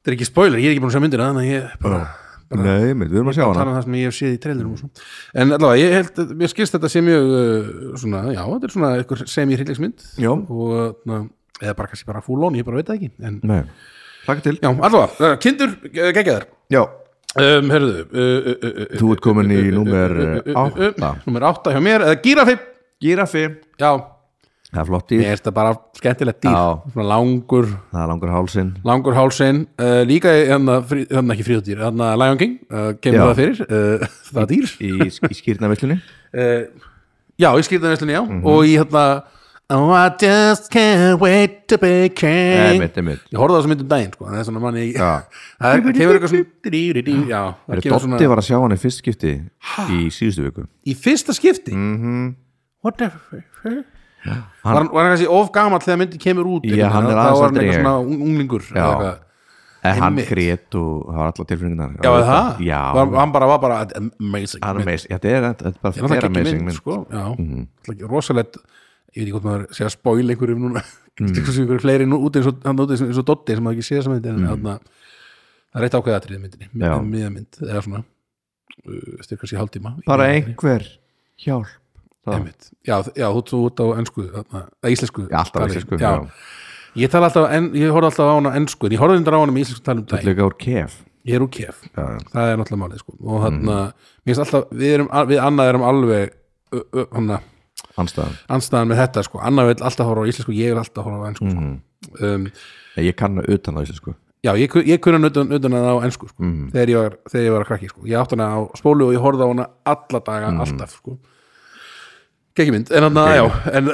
þetta er ekki spoiler, ég er ekki búin að sjá myndina þannig að ég bara
Nei, mitt, við erum að sjá
tala
hana
um það sem ég hef séð í trailerum og svona. en allavega, ég held, að- mér skilst þetta sé mjög uh, svona, já, þetta er svona eitthvað sem ég hryllingsmynd
Já.
og, na, eða bara kannski bara fúlón, ég bara veit það ekki en,
Nei, hlaka til
já, allavega, uh, kindur, uh, geggjaðar
Já,
um, herðu uh, uh, uh, uh,
þú ert komin í númer
uh, uh,
8
Númer átta hjá mér, eða gírafi
Girafi
já,
Það er flott dýr,
ég er þetta bara skemmtilegt dýr
Já.
svona langur,
það er langur hálsinn
langur hálsinn uh, líka, hann hérna ekki fríðutýr hann Lion King, uh, kemur
Já.
það fyrir uh, það er dýr
í, í skýrnavislunni
uh, já, í skýrðanæslunni, já og í hérna Oh, I just can't wait to be
Nei,
king
mitt, mitt
Ég horfði á þessu mynd um daginn, sko, en það er svona manni
Já.
Það er- kemur eitthvað svona Já, það kemur
Dotti
svona
var að sjá hana í fyrst skipti í síðustu viku
Í fyrsta skipti mm -hmm. Var hann var hann kannski of gamall þegar myndin kemur út
Já,
einhvern
hann
veginn, þá
er aðeins
var hann
eldri en
eitthvað
ég.
svona ung- unglingur eða
Já.
eitthvað.
En hann
Einmitt.
grét og það var allar tilfinningarnar
Já, er það?
Já,
Var- Hann bara var bara amazing
það er
mynd.
amazing Þetta er, þetta er bara
Ég náttúrulega
þetta er
ekki
amazing
mynd,
mynd Mhm.
sko Já, mm. rosalegt Ég veit ekki hvort maður sé að spoil einhverjum núna
Mhm.
Kannski mm. einhverju fleiri nú, út eins og, hann úti eins og- eins og Dotti sem maður ekki sé þessa mynd en þarna, það er eitt ákveða atriði í myndinni
Mhm. Já.
mynd- miðja mynd, eða svona uh, styrkast í hálftíma
Bara einhver hjálp Það-
Einmitt. Já, þ- já, þú þú út á ennsku þarna, eða íslensku
Já, alltaf
tali.
íslensku,
já.
já.
Ég tala alltaf, en, ég horfði alltaf á hana á ensku en ég horfði þetta á hana með íslensku talum um daginn
Líka úr kef
Ég er úr kef
Já, Mhm. já.
það er náttúrulega málið sko. og þarna, mér finnst alltaf, við, erum, al- við annað erum alveg ö- ö- hana,
anstæðan
anstæðan með þetta sko. annað vil alltaf horfa á íslensku, ég vil alltaf horfa á ennsku sko. um,
Nei, Ég kann það utan á sko. íslensku
já, ég, kun- ég kunna utan, utan að á ennsku sko. þegar, ég var, þegar ég var að krakki sko. ég átti hana á spólu og ég horfði á hana alla daga, alltaf sko. Gekki mynd, en hann að, já, en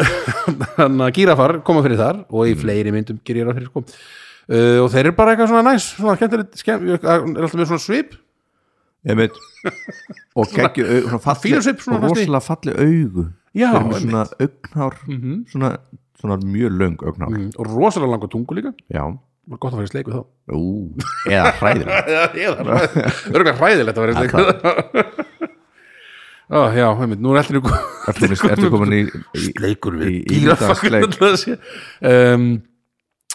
hann að gírafar koma fyrir þar og í fleiri myndum gerir ég ráð fyrir, sko. Uh, og þeir eru bara eitthvað svona næs, svona skemmtilegt, skemmt, er alltaf með svona svip,
Einmitt Og geggju au- svona falli
fínur svip, svona,
og Rosalega falli augu
Já,
Þeir eru með
einmitt. Mhm.
Svona augnhár svona, svona mjög löng augnhár
Mm, og rosalega langur tungu líka
Já
var gott að fara í sleik við þá
Ú, eða hræðilegt
örgulega hræðilegt að fara í sleik við þá Ó, já, heimitt, nú er allir
Ertu komin- Ertu komin í, í
leikur
við dýrafagleik.
dýrafagleik um,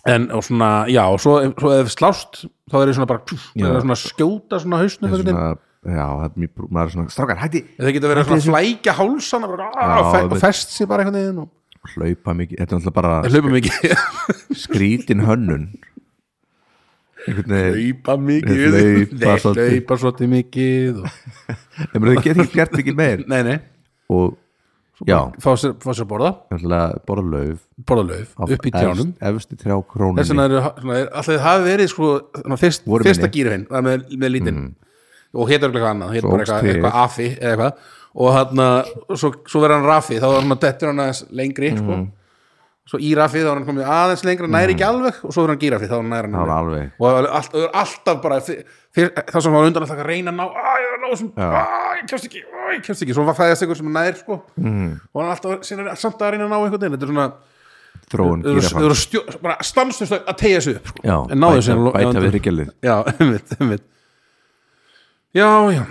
en og svona, já, og svo, svo ef slást þá er ég svona bara pff,
Já.
það er svona að skjóta svona hausnum einhvern veginn.
svona, Já, það er mjög brú- maður er svona Strákar, hætti
eða geta verið svona að flækja hálsana bara, á,
Já,
fe-
einmitt.
og fest sér bara einhvern veginn og
Hlaupa mikið Þetta er alltaf bara
hlaupa mikið
skrítin hönnun Einhvern veginn
hlaupa mikið
Hlaupa
Nei,
svolítið.
hlaupa svolítið mikið og,
Þeim eru þau get ekki gert ekki meir
nei, nei,
Og Já,
fá sér, fá sér að borða
alltaf bara lauf
borða lauf,
á
upp í trjánum
efst- Efst í trjá krónunni
þess vegna eru svona, er, alltaf þið hafi verið sko, svona, fyrst,
Voru
fyrsta
minni.
gírfinn með, með lítinn og hétur eitthvað annað, hétur
Svo
bara
óx
eitthvað,
til.
eitthvað hérna, afi eða
Mhm.
eitthvað og hann svo, svo verður hann rafi, þá er hann dettur hann aðeins lengri sko. svo írafið þá er hann komið aðeins lengra næri ekki alveg og svo er hann gírafið þá er hann næra hann
það var
alveg.
Mhm.
og
alveg
það er allt- það er alltaf bara fyr, fyr, það sem var undan alltaf að reyna að ná að ég er að ná þessum, að ég kemst ekki að ég kemst ekki, svo var fæðast ykkur sem er nær sko.
Mhm.
mm. og hann er alltaf síðan, samt að reyna að ná einhvern veginn þetta er svona, þau
þróun
eru- þau
gírafans
eru stjó, bara stanslust að tegja sig upp sko.
Já,
en náðu
bæta-
sér
bæta við hryggjarlið.
já, einmitt, einmitt. já, já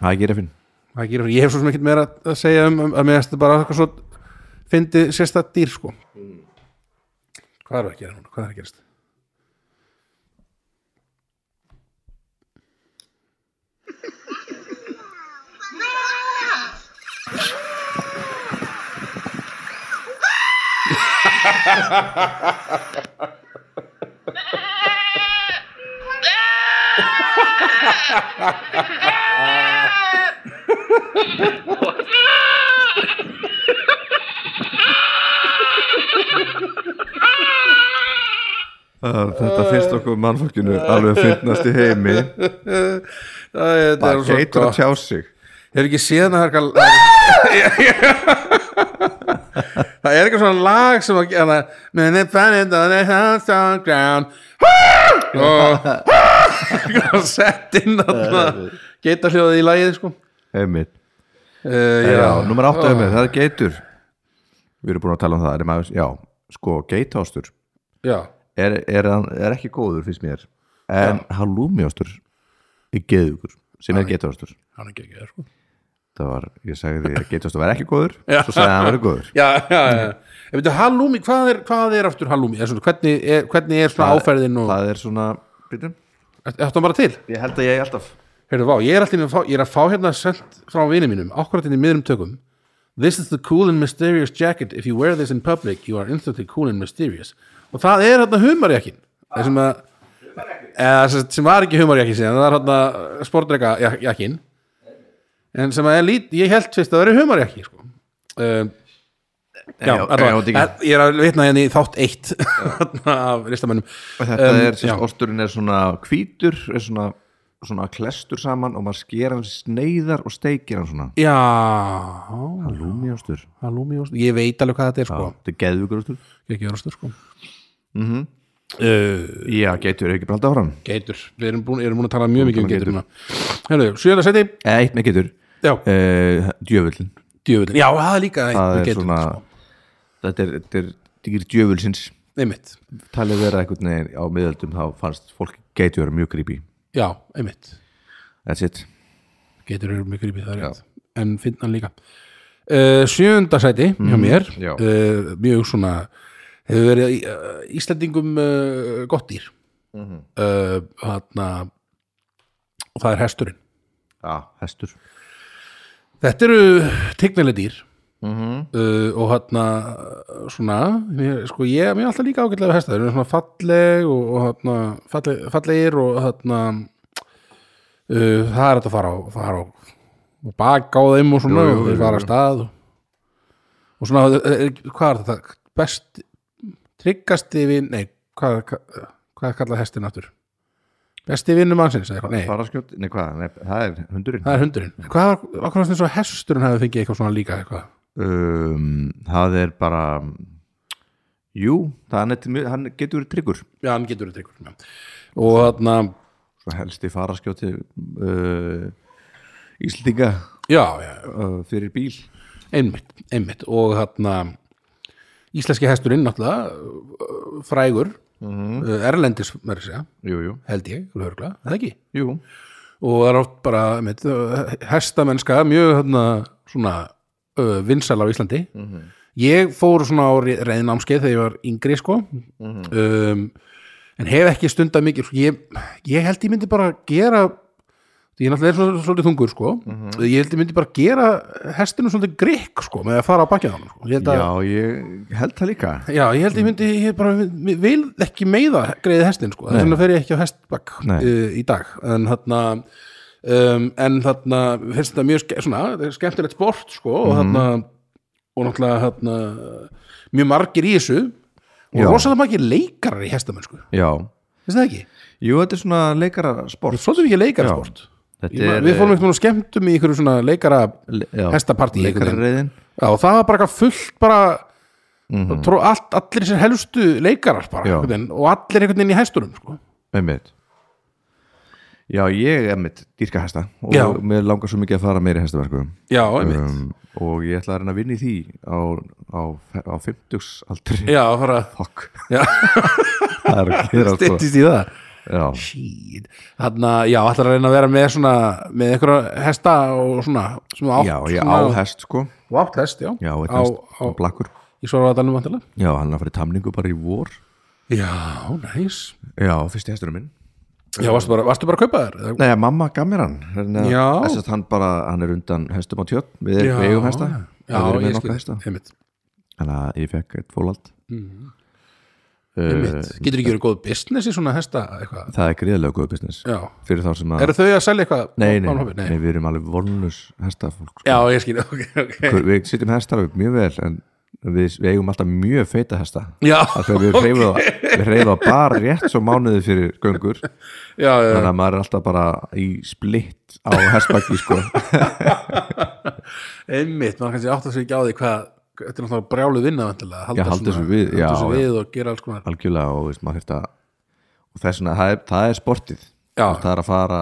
það er gírafin
Það gerir fyrir, ég hef svo sem ekkert meira að segja um, um að mér þetta bara eitthvað svo fyndi sérstætt dýr sko Hvað er það að gera núna? Hvað er að gerast?
Ah, þetta finnst okkur mannfólkinu
Eh,
alveg finnast í heimi
Æ, þetta er
bara
svo
geitur að tjá sig
Ég hef ekki séð það eitthvað Það er eitthvað svona lag sem að gera Men it banned on the house on ground og og sett inn þarna geta hljóðið í lagið sko
heiminn
uh,
Já, nummer 8 er með, það er geitur Við erum búin að tala um það er maður, Já, sko, geitástur
Já,
er, er, hann- er ekki góður fyrst mér en halúmiástur er geðugur sem er geitástur
hann er ekki ekki sko
Það var, ég sagði því að geitástur var ekki góður svo sagði hann að hann verið góður
já, já, já. Ég veit, halloumi, hvað er, hvað er aftur halloumi? Er svona, hvernig, er, hvernig er svona áferðin og,
Það er svona, býtum
ætti hann bara til?
Ég held að ég alltaf
Heyrðu, vá, ég er alltaf að fá, ég er að fá hérna sent frá vini mínum, akkurat inn í miðrum tökum This is the cool and mysterious jacket If you wear this in public, you are instantly cool and mysterious Og það er hérna humarjakkin Það sem að eða, sem sagt, sem var ekki humarjakkin síðan, það er hérna sportreikajakkin En sem að er lít, ég held fyrst að það eru humarjakki sko. um, Já,
já,
allavega,
já, Diggi.
ég er að vitna hérna í þátt eitt af listamönnum
Þetta
Um,
er,
já.
sérst, osturinn er svona hvítur er svona, svona klestur saman og maður sker hann í sneiðar og steikir hann svona
Já,
Halúmiástur,
halloumi og ég veit alveg hvað þetta er sko
þetta er geðugur ástur
ekki orðstur sko
Já, geitur er ekki bara alltaf áram
geitur, við erum búin, erum búin að tala mjög mikið um geitur núna. Herðu, sjöða seti
Eða eitt með getur
já,
uh, Djöfullin
djöfullin, Eh, já það er líka eitt
Það
með
er
geitur,
svona
sko.
Þetta er, þetta er dýr djöfulsins
einmitt
Talið vera eitthvað neginn á miðöldum þá fannst fólk geitur vera mjög creepy
já, einmitt,
That's it
geitur eru mjög grípið það er rétt, en finn hann líka uh, sjöunda seti hjá mér
Mm, já.
uh, mjög svona hefur verið í- uh, Íslandingum uh, gott dýr
Mhm.
uh, hana, og það er hesturinn
Já, hestur
Þetta eru tignileg dýr
Mhm.
uh, og hérna uh, svona, mér, sko ég mér er alltaf líka ágætlega við hesta, þeir eru svona falleg og, og hérna falleg, fallegir og hérna uh, það er þetta að fara á, fara á og baka á þeim og svona
Jú, jú,
og
jú,
þeir
jú.
fara að stað og, og svona, er, er, hvað er þetta best, tryggasti vin, nei, hvað, hvað, hvað kallað hestin aftur? Besti vinnum mannsins, eða eitthvað? nei
Faraskjótt, nei hvað, nei, það er hundurinn
Það er hundurinn. Hvað var, hvað var þess að hesturinn hefði fengið eitthvað svona líka eitthvað?
um, Það er bara Jú, það er neitt, hann getur verið tryggur
Já, hann getur þetta eitthvað. Já. Og þarna,
Svo helsti faraskjóti uh, Íslendinga
já, já,
uh, fyrir bíl
einmitt, einmitt. Og þarna, íslenski hesturinn náttúrulega, uh, frægur, uh, erlendis, mér að segja,
Jú, jú,
held ég, lögurglega, það ekki.
jú
Og það er oft bara, einmitt, uh, hestamennska, mjög þarna, svona, uh, vinsæl á Íslandi. Ég fór svona á reyðnámskeið þegar ég var yngri, sko. um, en hef ekki stundað mikið, sko, ég, ég held ég myndi bara gera ég er náttúrulega svolítið, svolítið þungur sko ég held ég myndi bara gera hestinu svolítið grikk sko með að fara á bakið á hann sko. ég held að,
Já, ég held það líka
já, ég
Mm.
held ég myndi ég bara ég vil ekki meiða greiði hestin sko, þess vegna fer ég ekki á hestbakk
Nei.
uh, í dag, en þarna um, en þarna finnst þetta mjög ske, svona, þetta er skemmtilegt sport sko, og
Mhm.
þarna og náttúrulega þarna, mjög margir í þessu og
Já.
rosalega margir leikarar í hestamenn sko,
Já,
finnst það ekki?
Jú, þetta er svona leikara sport
Svolítið mikið leikarasport
Þetta
Ég man-
er, eh,
Við fórum eitthvað og skemmtum í einhverju svona leikara
le- já,
hestapartí einhvern veginn.
Leikarareiðin
Já, og það var bara eitthvað fullt bara og tró, allt, allir sér helstu leikarar bara,
Mhm. Já.
einhvern veginn, og allir einhvern veginn í hæstunum sko.
Einmitt. Já, ég er mitt dýrka hesta og
Já.
mér langar svo mikið að fara meiri hestaverkum
já, einmitt
sko. um, og ég ætla að reyna að vinna í því á, á, á 50 aldri
já, fara
Fuck
Já.
Það er að gera sko
styttist í það
Já,
Shit. Þarna, já, ætlar að reyna að vera með svona, með einhverja hesta og svona, svona átt
já ég á
svona,
hest sko
og átt hest, já,
Já, eitt
á,
hest,
á,
blakkur
í Svarvaðalunum vantilega
Já, hann er að fara í tamningu bara í vor
já, næs
Já, fyrsti hesturinn minn
já, varstu bara, varstu bara að kaupa þér? Eða-
Nei, mamma gaf mér hann Þannig að-
Já.
þess að hann bara, hann er undan hestum á tjörn Við erum eigum hesta
já,
Við erum
ég
með nokka
skil,
hesta
einmitt,
Þannig að ég fekk eitt fólald
Mhm.
Eh,
einmitt. getur ekki verið góð business í svona hesta eitthvað,
Það er greiðlega góð business
já,
Fyrir þá sem að
eru þau að selja eitthvað
Ah. nei,
á-
nei,
á
nei,
hoppi?
nei, við erum alveg vonlus hestafólk sko.
já, ég skil, ok, ok
Við sitjum hestar upp mjög vel En við, við eigum alltaf mjög feita hesta
já,
Af því að Við reyfum okay. reyfa bara rétt svo mánuði fyrir göngur
já, já,
Þannig að maður er alltaf bara í splitt á hestbakki sko.
einmitt maður kannski átt að segja ekki á því hvað þetta er náttúrulega brjálu vinna vantilega
Já, halda þessu við,
halda
já,
þessu
já.
við og gera alls konar
Algjörlega og veist, maður þurft að og þess vegna, það er, það er sportið
Já.
það er að fara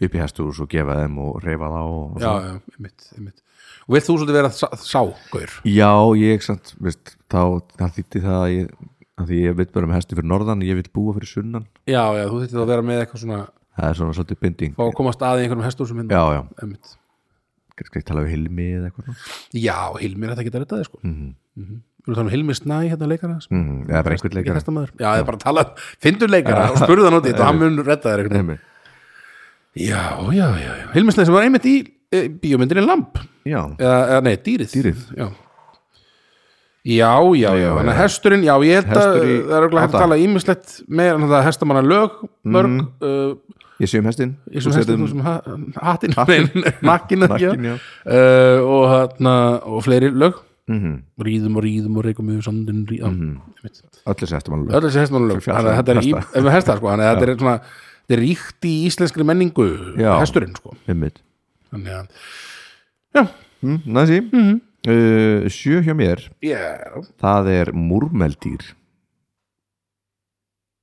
upp í hestús og gefa þeim og reyfa þá og, og
já, já, einmitt, einmitt og vilt þú svolítið vera sá- ságaur
Já, ég samt, veist, þá það þýtti það að ég, að því ég vil bara með hesti fyrir norðan, ég vil búa fyrir sunnan
já, já, þú þýttir þá að vera með eitthvað svona
það er svona svolítið binding
fá að komast að í einhverjum hestur sem
Já, já,
einmitt
kannski tala við Hilmi eða eitthvað svona.
já, Hilmir þetta geta rettaði sko mm -hmm. Við erum þannig Hilmi Snæ hérna leikara sem
mm, eða Mhm. bara einhvern
er
leikar
hestamaður. Já, það er bara að tala, fyndu leikara og spurðu hann út í þetta og hann mun retta þér einhvern veginn. Já, já, já, já Hilmi Snæ sem var einmitt í e, bíómyndinni Lamp
Já,
eða, eða nei, dýrið
Dýrið.
já já, já, já,
já,
þannig að
já.
hesturinn já, ég held að
Hestur í-
það er örugglega hægt
Adam.
að tala ímislegt meira en það hestamanna lög
Mm.
mörg, uh,
ég sé um hestin
ég sem hestur þú sem ha- hattinn, nei, nakkinn
Nakkin,
uh,
já
og hérna og fleiri lög,
Mhm.
ríðum og ríðum og reykum yfir sandin ríðum mm.
Öll þessi hestum alveg
öll þessi hestamanna lög
Fyrir
þannig að þetta er í,
hesta.
ef við hesta sko, þannig að þetta er svona þetta er ríkt í íslenskri menningu
Já.
hesturinn sko,
Einmitt
þannig að
mm, Næsi uh, Sjö hjá mér,
yeah.
það er múrmeldýr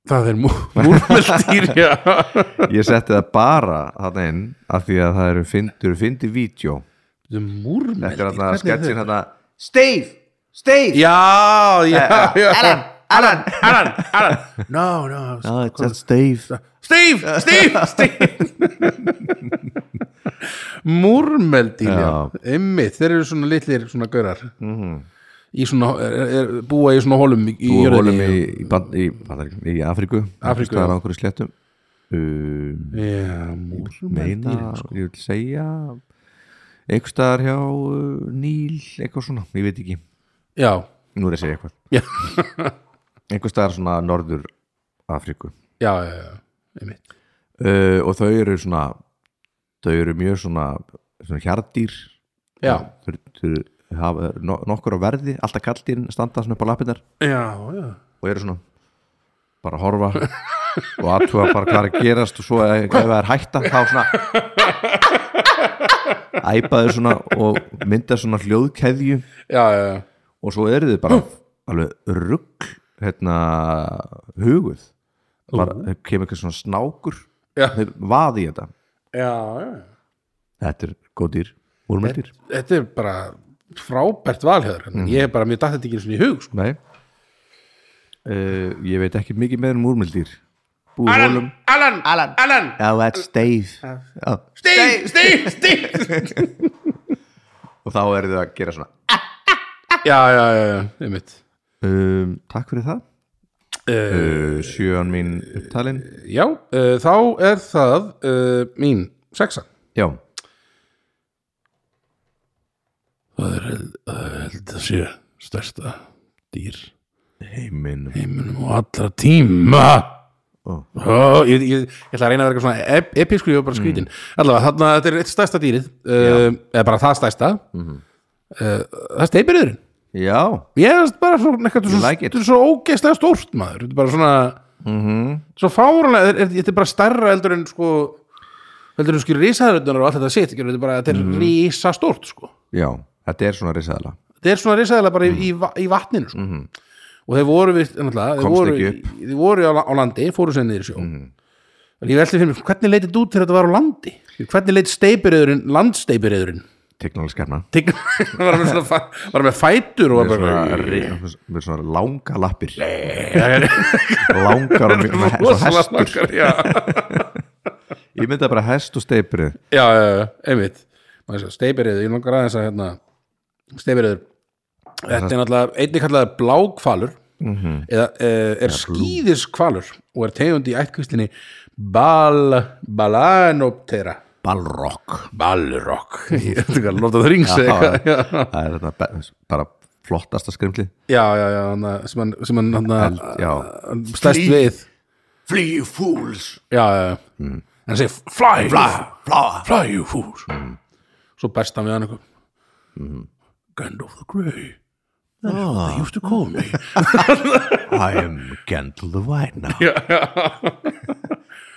það er múr, múrmeldýr já
Ég setti það bara þarna inn af því að það eru fyndur fyndi vídeo
Þetta er múrmeldi
Þetta er þarna sketsin þarna Steve, Steve
Já, já, já
Alan, Alan
Alan, Alan No, no
No, it's not Steve
Steve, Steve, Steve Múrmeldi
Já.
Einmitt, þeir eru svona litlir svona gaurar
Mhm.
Í svona, er, er, búa í svona holum í, í
Þú
jörðinni.
volum í, í, Band- í, Bandaríkjunum, í Afríku
Afríku, já.
Það er okkur í sléttum um,
Já, múrmeldi
Meina, ég vil segja einhvers staðar hjá uh, Níl, eitthvað svona, ég veit ekki
Já,
Nú er ég að segja eitthvað
Já.
einhvers staðar svona norður Afríku
já, já, já Einmitt
uh, og þau eru svona þau eru mjög svona, svona hjarðdýr
Já,
þau, þau hafa no, nokkur á verði alltaf kalldýrin standa svona upp á lappirnar
já, já
og eru svona bara að horfa og aðtuga bara hvað er að gerast og svo ef ef það er hætta þá svona æpaðu svona og mynda svona hljóðkeðju
Já, já, já
og svo eru þau bara alveg rugg hérna huguð bara, það kemur eitthvað svona snákur
Já.
þau vaði í þetta
Já, já
þetta er góð dýr, úrmeldir
Þetta er bara frábært valhjöður mm. Ég er bara, mér datt þetta ekki einu svona í hug sko.
nei uh, ég veit ekki mikið meður um úrmeldir búið í hólum
Alan, Alan, Alan
oh that's Dave oh.
Steve, Steve, Steve
og þá eru þau að gera svona
Já, já, já, já, einmitt
um, takk fyrir það
uh,
uh, sjöan mín upptalin
Já, uh, þá er það uh, mín sexa
já,
Það er held, það er held að sé stærsta dýr
heiminn
heiminum og allra tíma
Ó.
Ó, ég, ég, ég ætla að reyna að vera eitthvað svona ep, episku og bara skrítin allavega þarna þetta er eitt stærsta dýrið uh, eða bara það stærsta uh, það er steipirðurinn
já,
ég er bara svona eitthvað svo,
like it.
þetta er svo ógeðslega stórt maður þetta er bara svona
Mhm.
svo fárunlega, þetta er- þetta er bara stærra heldur en sko heldur
Mhm.
en skilur risaðröndunar og allt þetta sitt skilur, þetta er bara, þetta er mm. risastórt sko
já, þetta er svona risaðala
þeir er svona risaðilega bara í, í, va- í vatninu sko. og þeir voru við þeir
Mhm. Komst
voru,
ekki Mhm.
í- þeir voru á, la- á landi, fóru sér niður í sjó mm -hmm. ég velti fyrir mér, hvernig leitið út þegar þetta var á landi hvernig leit steipireyðurinn, landsteipireyðurinn
Tignalskjarna
Tigg- var, með svona fa- var með fætur og var bara
með svona langa lappir langar og mjög með
Rosalega
hestur
langar, já.
ég myndi bara hest og steiprið
já, já, já, einmitt steipireyður, ég langar aðeins að hérna, steipireyður þetta er náttúrulega, einnig kallaður blákvalur eða uh, er skýðiskvalur og er tegund í ættkvíslinni bal, balanoptera
balrog
balrokk, ég veit ekki að lofta það rings eða
það
eitthvað, já,
er þetta be- bara flottasta skrimli
já, já, já hana, sem hann, sem hann, hann
já.
stæst
Flý-
við
Flee fools
já, já, já hann segir Mm. fly,
Flá
fly you fools svo berst hann við hann eitthvað Mhm. Gandalf the Grey Ah. they used to call me
I am Gentle the White now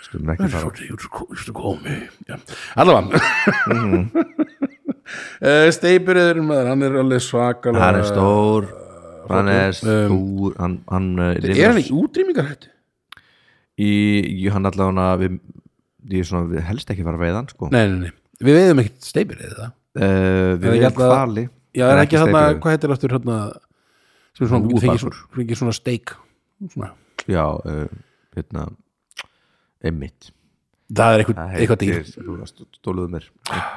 Skulum ekki fara
Sorry, you used to call- used to call me yeah. allavega Mhm. uh, Steipurður maður, hann er alveg svakalega
hann er stór hann er stór hann, hann uh,
Um, er
lifir
hann í útrýmingarhættu
í, í hann allavega við, ég er svona, við helst ekki fara að veiða hann sko.
nei, nei, nei, við veiðum ekkert Steipurður það
uh,
Er
við
ekki
erum
alltaf-
hvali
já, er ekki þarna,
steypireyður.
hvað heitir aftur hérna sem er svona, fengið
Úlfakur.
svona, fengi svona steik svona.
já, uh, hérna einmitt
það er eitthvað, eitthvað dýr
stóluðu mér,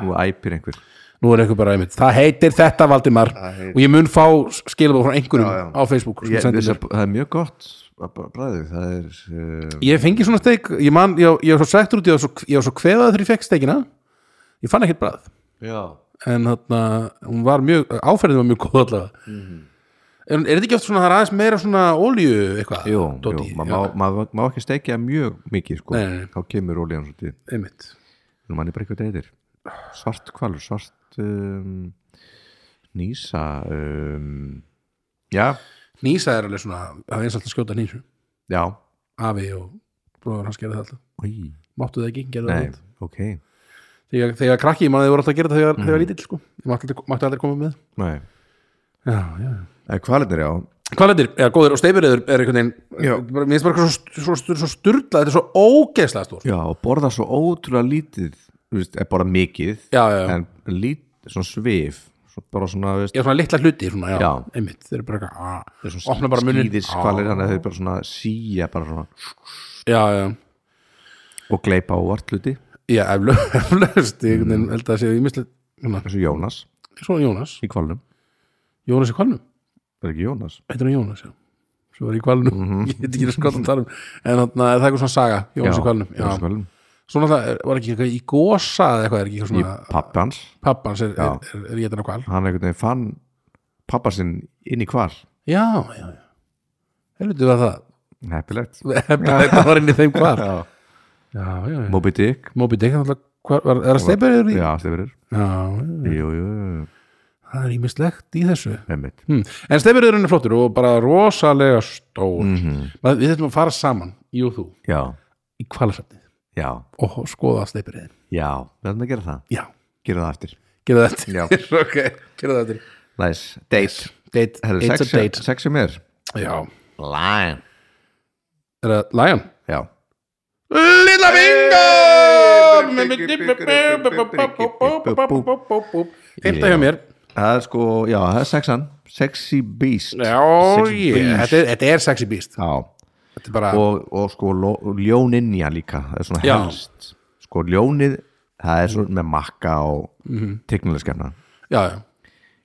nú æpir einhver
nú er eitthvað bara einmitt, það heitir þetta Valdimar og ég mun fá skilabóð frá einhverjum
Já, já.
á Facebook
ég,
ég,
þessar,
ég,
það er mjög gott bræðið, það er uh,
ég fengi svona steik ég, man, ég, ég var svo sættur út, ég var svo, ég var svo kveðað þegar ég fekk steikina ég fann ekkert brað
já,
en þarna, hún var mjög áferðin var mjög góð allavega
Mhm.
en er þetta ekki oft svona, það er aðeins meira svona olíu eitthvað,
jú, jú
Doddi?
maður má, ma, ma ekki steikja mjög mikið sko,
Nei, nei, nei.
þá kemur ólíðan svolítið
einmitt
Nú manni bara eitthvað deyðir Svart kvalur, svart um, Nýsa um, Já,
nýsa er alveg svona, það er eins og alltaf að skjóta nýsu
já
afi og bróður hans gerði það alltaf
Í,
máttu það ekki, gerði það
Nei,
alltaf
ok
þegar, þegar krakki, mann, þið voru alltaf að gera það
Mhm.
þegar, þegar lítill, sko, ég máttu aldrei, máttu aldrei koma með
Nei.
já, já, já
En Kvalirnir, já
Kvalitir, eða góður og steipireyður er einhvern
Já.
veginn bara- mér finnst bara eitthvað svo, svo, svo, svo sturla þetta er svo ógeðslega stór
Já, og borða svo ótrúlega lítið þú veist, er Borða mikið
Já, já, já.
En lít, svona svif svo Bara svona, þú veist
Já, svona litla hluti, svona, já,
Já.
einmitt þeir eru bara eitthvað, að,
svona
opna bara munnin
Skýðis kvalir, þannig að þau bara svona síja bara svona
já, já,
Og gleipa á vart hluti
já, eflaust eflaust, ég einhvern
Mm.
veginn held að sé, ég misli svona,
Þessu Jónas
svona Jónas,
í kvalnum
Jónas í kvalnum
Er ekki Jónas?
heitir hann Jónas, já, svo var í kvalnum
Mhm.
ég veit ekki hvað það tala um en þannig að það er eitthvað svona saga, Jónas í kvalnum
Jónas í
já,
kvalnum
svona það, er- var ekki eitthvað í gósa eða eitthvað, er ekki eitthvað svona,
Pappi hans
pappans er,
Já.
er, er, er, er, á kval
hann einhvern veginn fann pappa sinn inn í hval
já, já, já, helviti var það
heppilegt
þetta var inn í þeim hvar já, já, já.
Moby Dick
Moby Dick hann alltaf, hvar, var, er það steipurður í já,
já, stefurur
já,
jú, jú,
það er ímislegt í þessu
emmitt
hm. en steipurðurinn er flottur og bara rosalega stór Maður- við þurfum að fara saman, ég og þú
já,
í kvalasafnið
já,
og skoða steipurðin
já, við ætlum að gera það
já,
gera það eftir
gera þetta
Já.
ok, gera þetta
nice, date,
date,
Herru,
it's
sex,
a date
sex sem er
já,
lion
er það Lion?
já,
Lilla bingo Fymta hjá mér
það er sko, já, það er sexan sexy beast
Já,
Sexy
ég,
beast.
þetta er, þetta er sexy beast
já,
Þetta er bara,
og, og sko lo- ljóninja líka, það er svona
Já.
helst sko ljónið, það er svona með makka og mm -hmm.
Mhm. já, já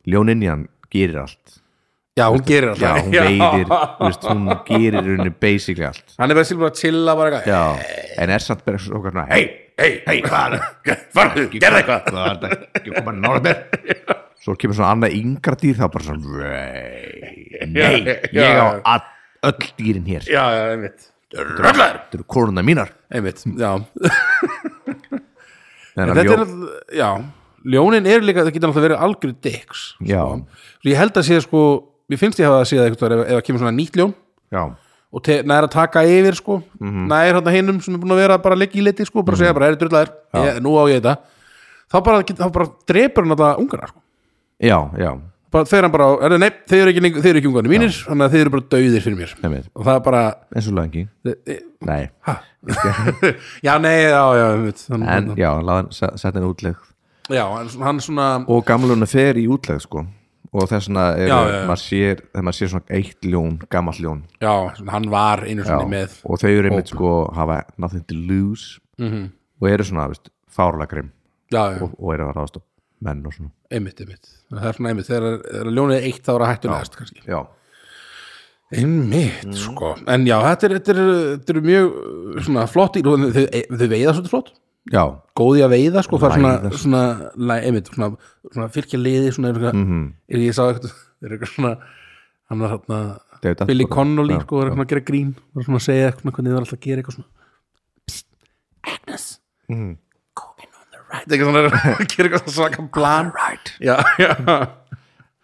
ljóninjan gerir allt
Já, hún gerir
já,
alltaf
hún veiðir, þú veist, hún gerir henni basically allt
Hann er bara silfur að chilla bara eitthvað
já, en er samt bara svo svona, hei,
hei, hei, farðu, farðu, gerð eitthvað
það er þetta ekki að koma nála mér svo kemur svona annað yngra dýr þá bara svona, vei nei,
Já,
ég á
já.
all, öll dýrin hér
Já, já, einmitt Röflar
þetta eru koruna mínar
Einmitt, já
en
Þetta er alltaf, já Ljónin er líka, það getur alltaf verið algjör dicks
já,
Svo ég held að sé sko Mér finnst ég hafa að sé það eitthvað ef, ef það kemur svona nýtt ljón
já,
og te- nær að taka yfir sko
Mhm.
nær hann hinnum sem er búin að vera bara að leggja í liti sko, bara segja bara, er drullar, ég, nú á ég þetta þá bara, get- þá bara drepur hann þetta ungarna sko.
já, já
bara, þeir hann bara, á- er það nei, þeir eru ekki, lengur- þeir eru ekki ungarnir mínir, þannig að þeir eru bara dauðir fyrir mér
Einmitt.
og það er bara e,
eins og langi Nei,
já, nei, já, já, einmitt. hann,
en já, hann lagði- se- setti hann í útlegð
já, hann, hann svona
og gamluna fer í útlegð sko og þess vegna er,
Já, já, já.
maður sér þegar maður sér svona eitt ljón, gamall ljón
já, svona, hann var einu
Já,
svona með
og þau eru einmitt sko hafa nothing to lose
Mhm.
-hmm. og eru svona, veist, fárlega grimm
já, já,
og, og eru að ráðast á menn og svona
einmitt, einmitt það er svona einmitt, þegar þegar ljónið er eitt þá er að hættu næst kannski
já,
Einmitt, sko En já, þetta er, þetta er, þetta er mjög uh, svona flott dýr og þau, e, þau veiða svolítið flott
já,
Góði að veiða, sko, fara svona,
Læða.
svona læ, einmitt, svona, svona fylgja liði svona, er, mm
Mhm.
-hmm. er ég sá eitthvað er eitthvað svona, hann var þarna
David
Billy
Attenborough.
Connolly,
Já,
sko, er eitthvað að gera grín var svona að segja eitthvað, hvernig þið var alltaf að gera eitthvað svona Psst, Agnes mm. going on the right eitthvað svona, er að gera eitthvað svaka plan right Já, já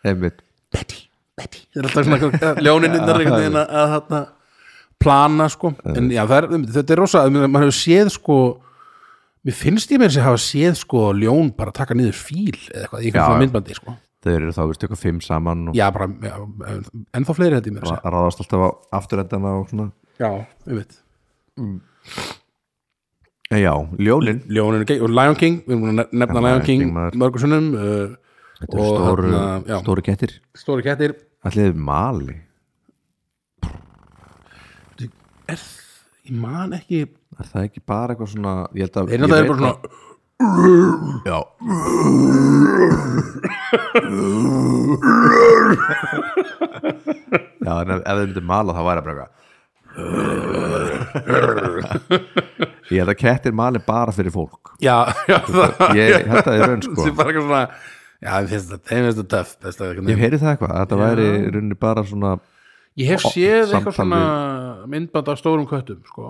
einmitt
Betty, Betty Það er alltaf svona ljóninindar einhvern veginn að- að þarna plana sko en já, það er, þetta er rosa, mann hefur séð sko mér finnst ég mér sem hafa séð sko ljón bara taka niður fíl eða eitthvað, í
Já,
einhvern svona
já.
myndbandi sko
þau eru þá, veist, eitthvað fimm saman og
já, bara, já, ennþá fleiri þetta í mér að segja.
ra- ráðast alltaf á afturendana og svona
já, við veit
en Eh, já, ljónin
ljóninu, og Lion King, við erum búin að nefna
Lion
Lion King
King, maður.
mörgum sunnum uh,
þetta eru stóru,
þarna, hérna, já,
stóru kettir
stóri kettir
allir mali
ég man ekki,
er það ekki bara eitthvað svona ég held
þeir
að, ég
náttúrulega
veit
eru bara svona
að- já, já en ef, ef þau myndir mala þá væri það bara eitthvað ég held að kettir mali bara fyrir fólk
já, já, það
ég held að það er raun
það
sko
er bara eitthvað svona já, þeim finnst þetta, þeim finnst þetta töff best að einhvern
ég
veginn.
heyri það eitthvað, að þetta væri í rauninni bara svona
ég hef séð
samtal Mhm.
eitthvað svona myndband af stórum köttum sko,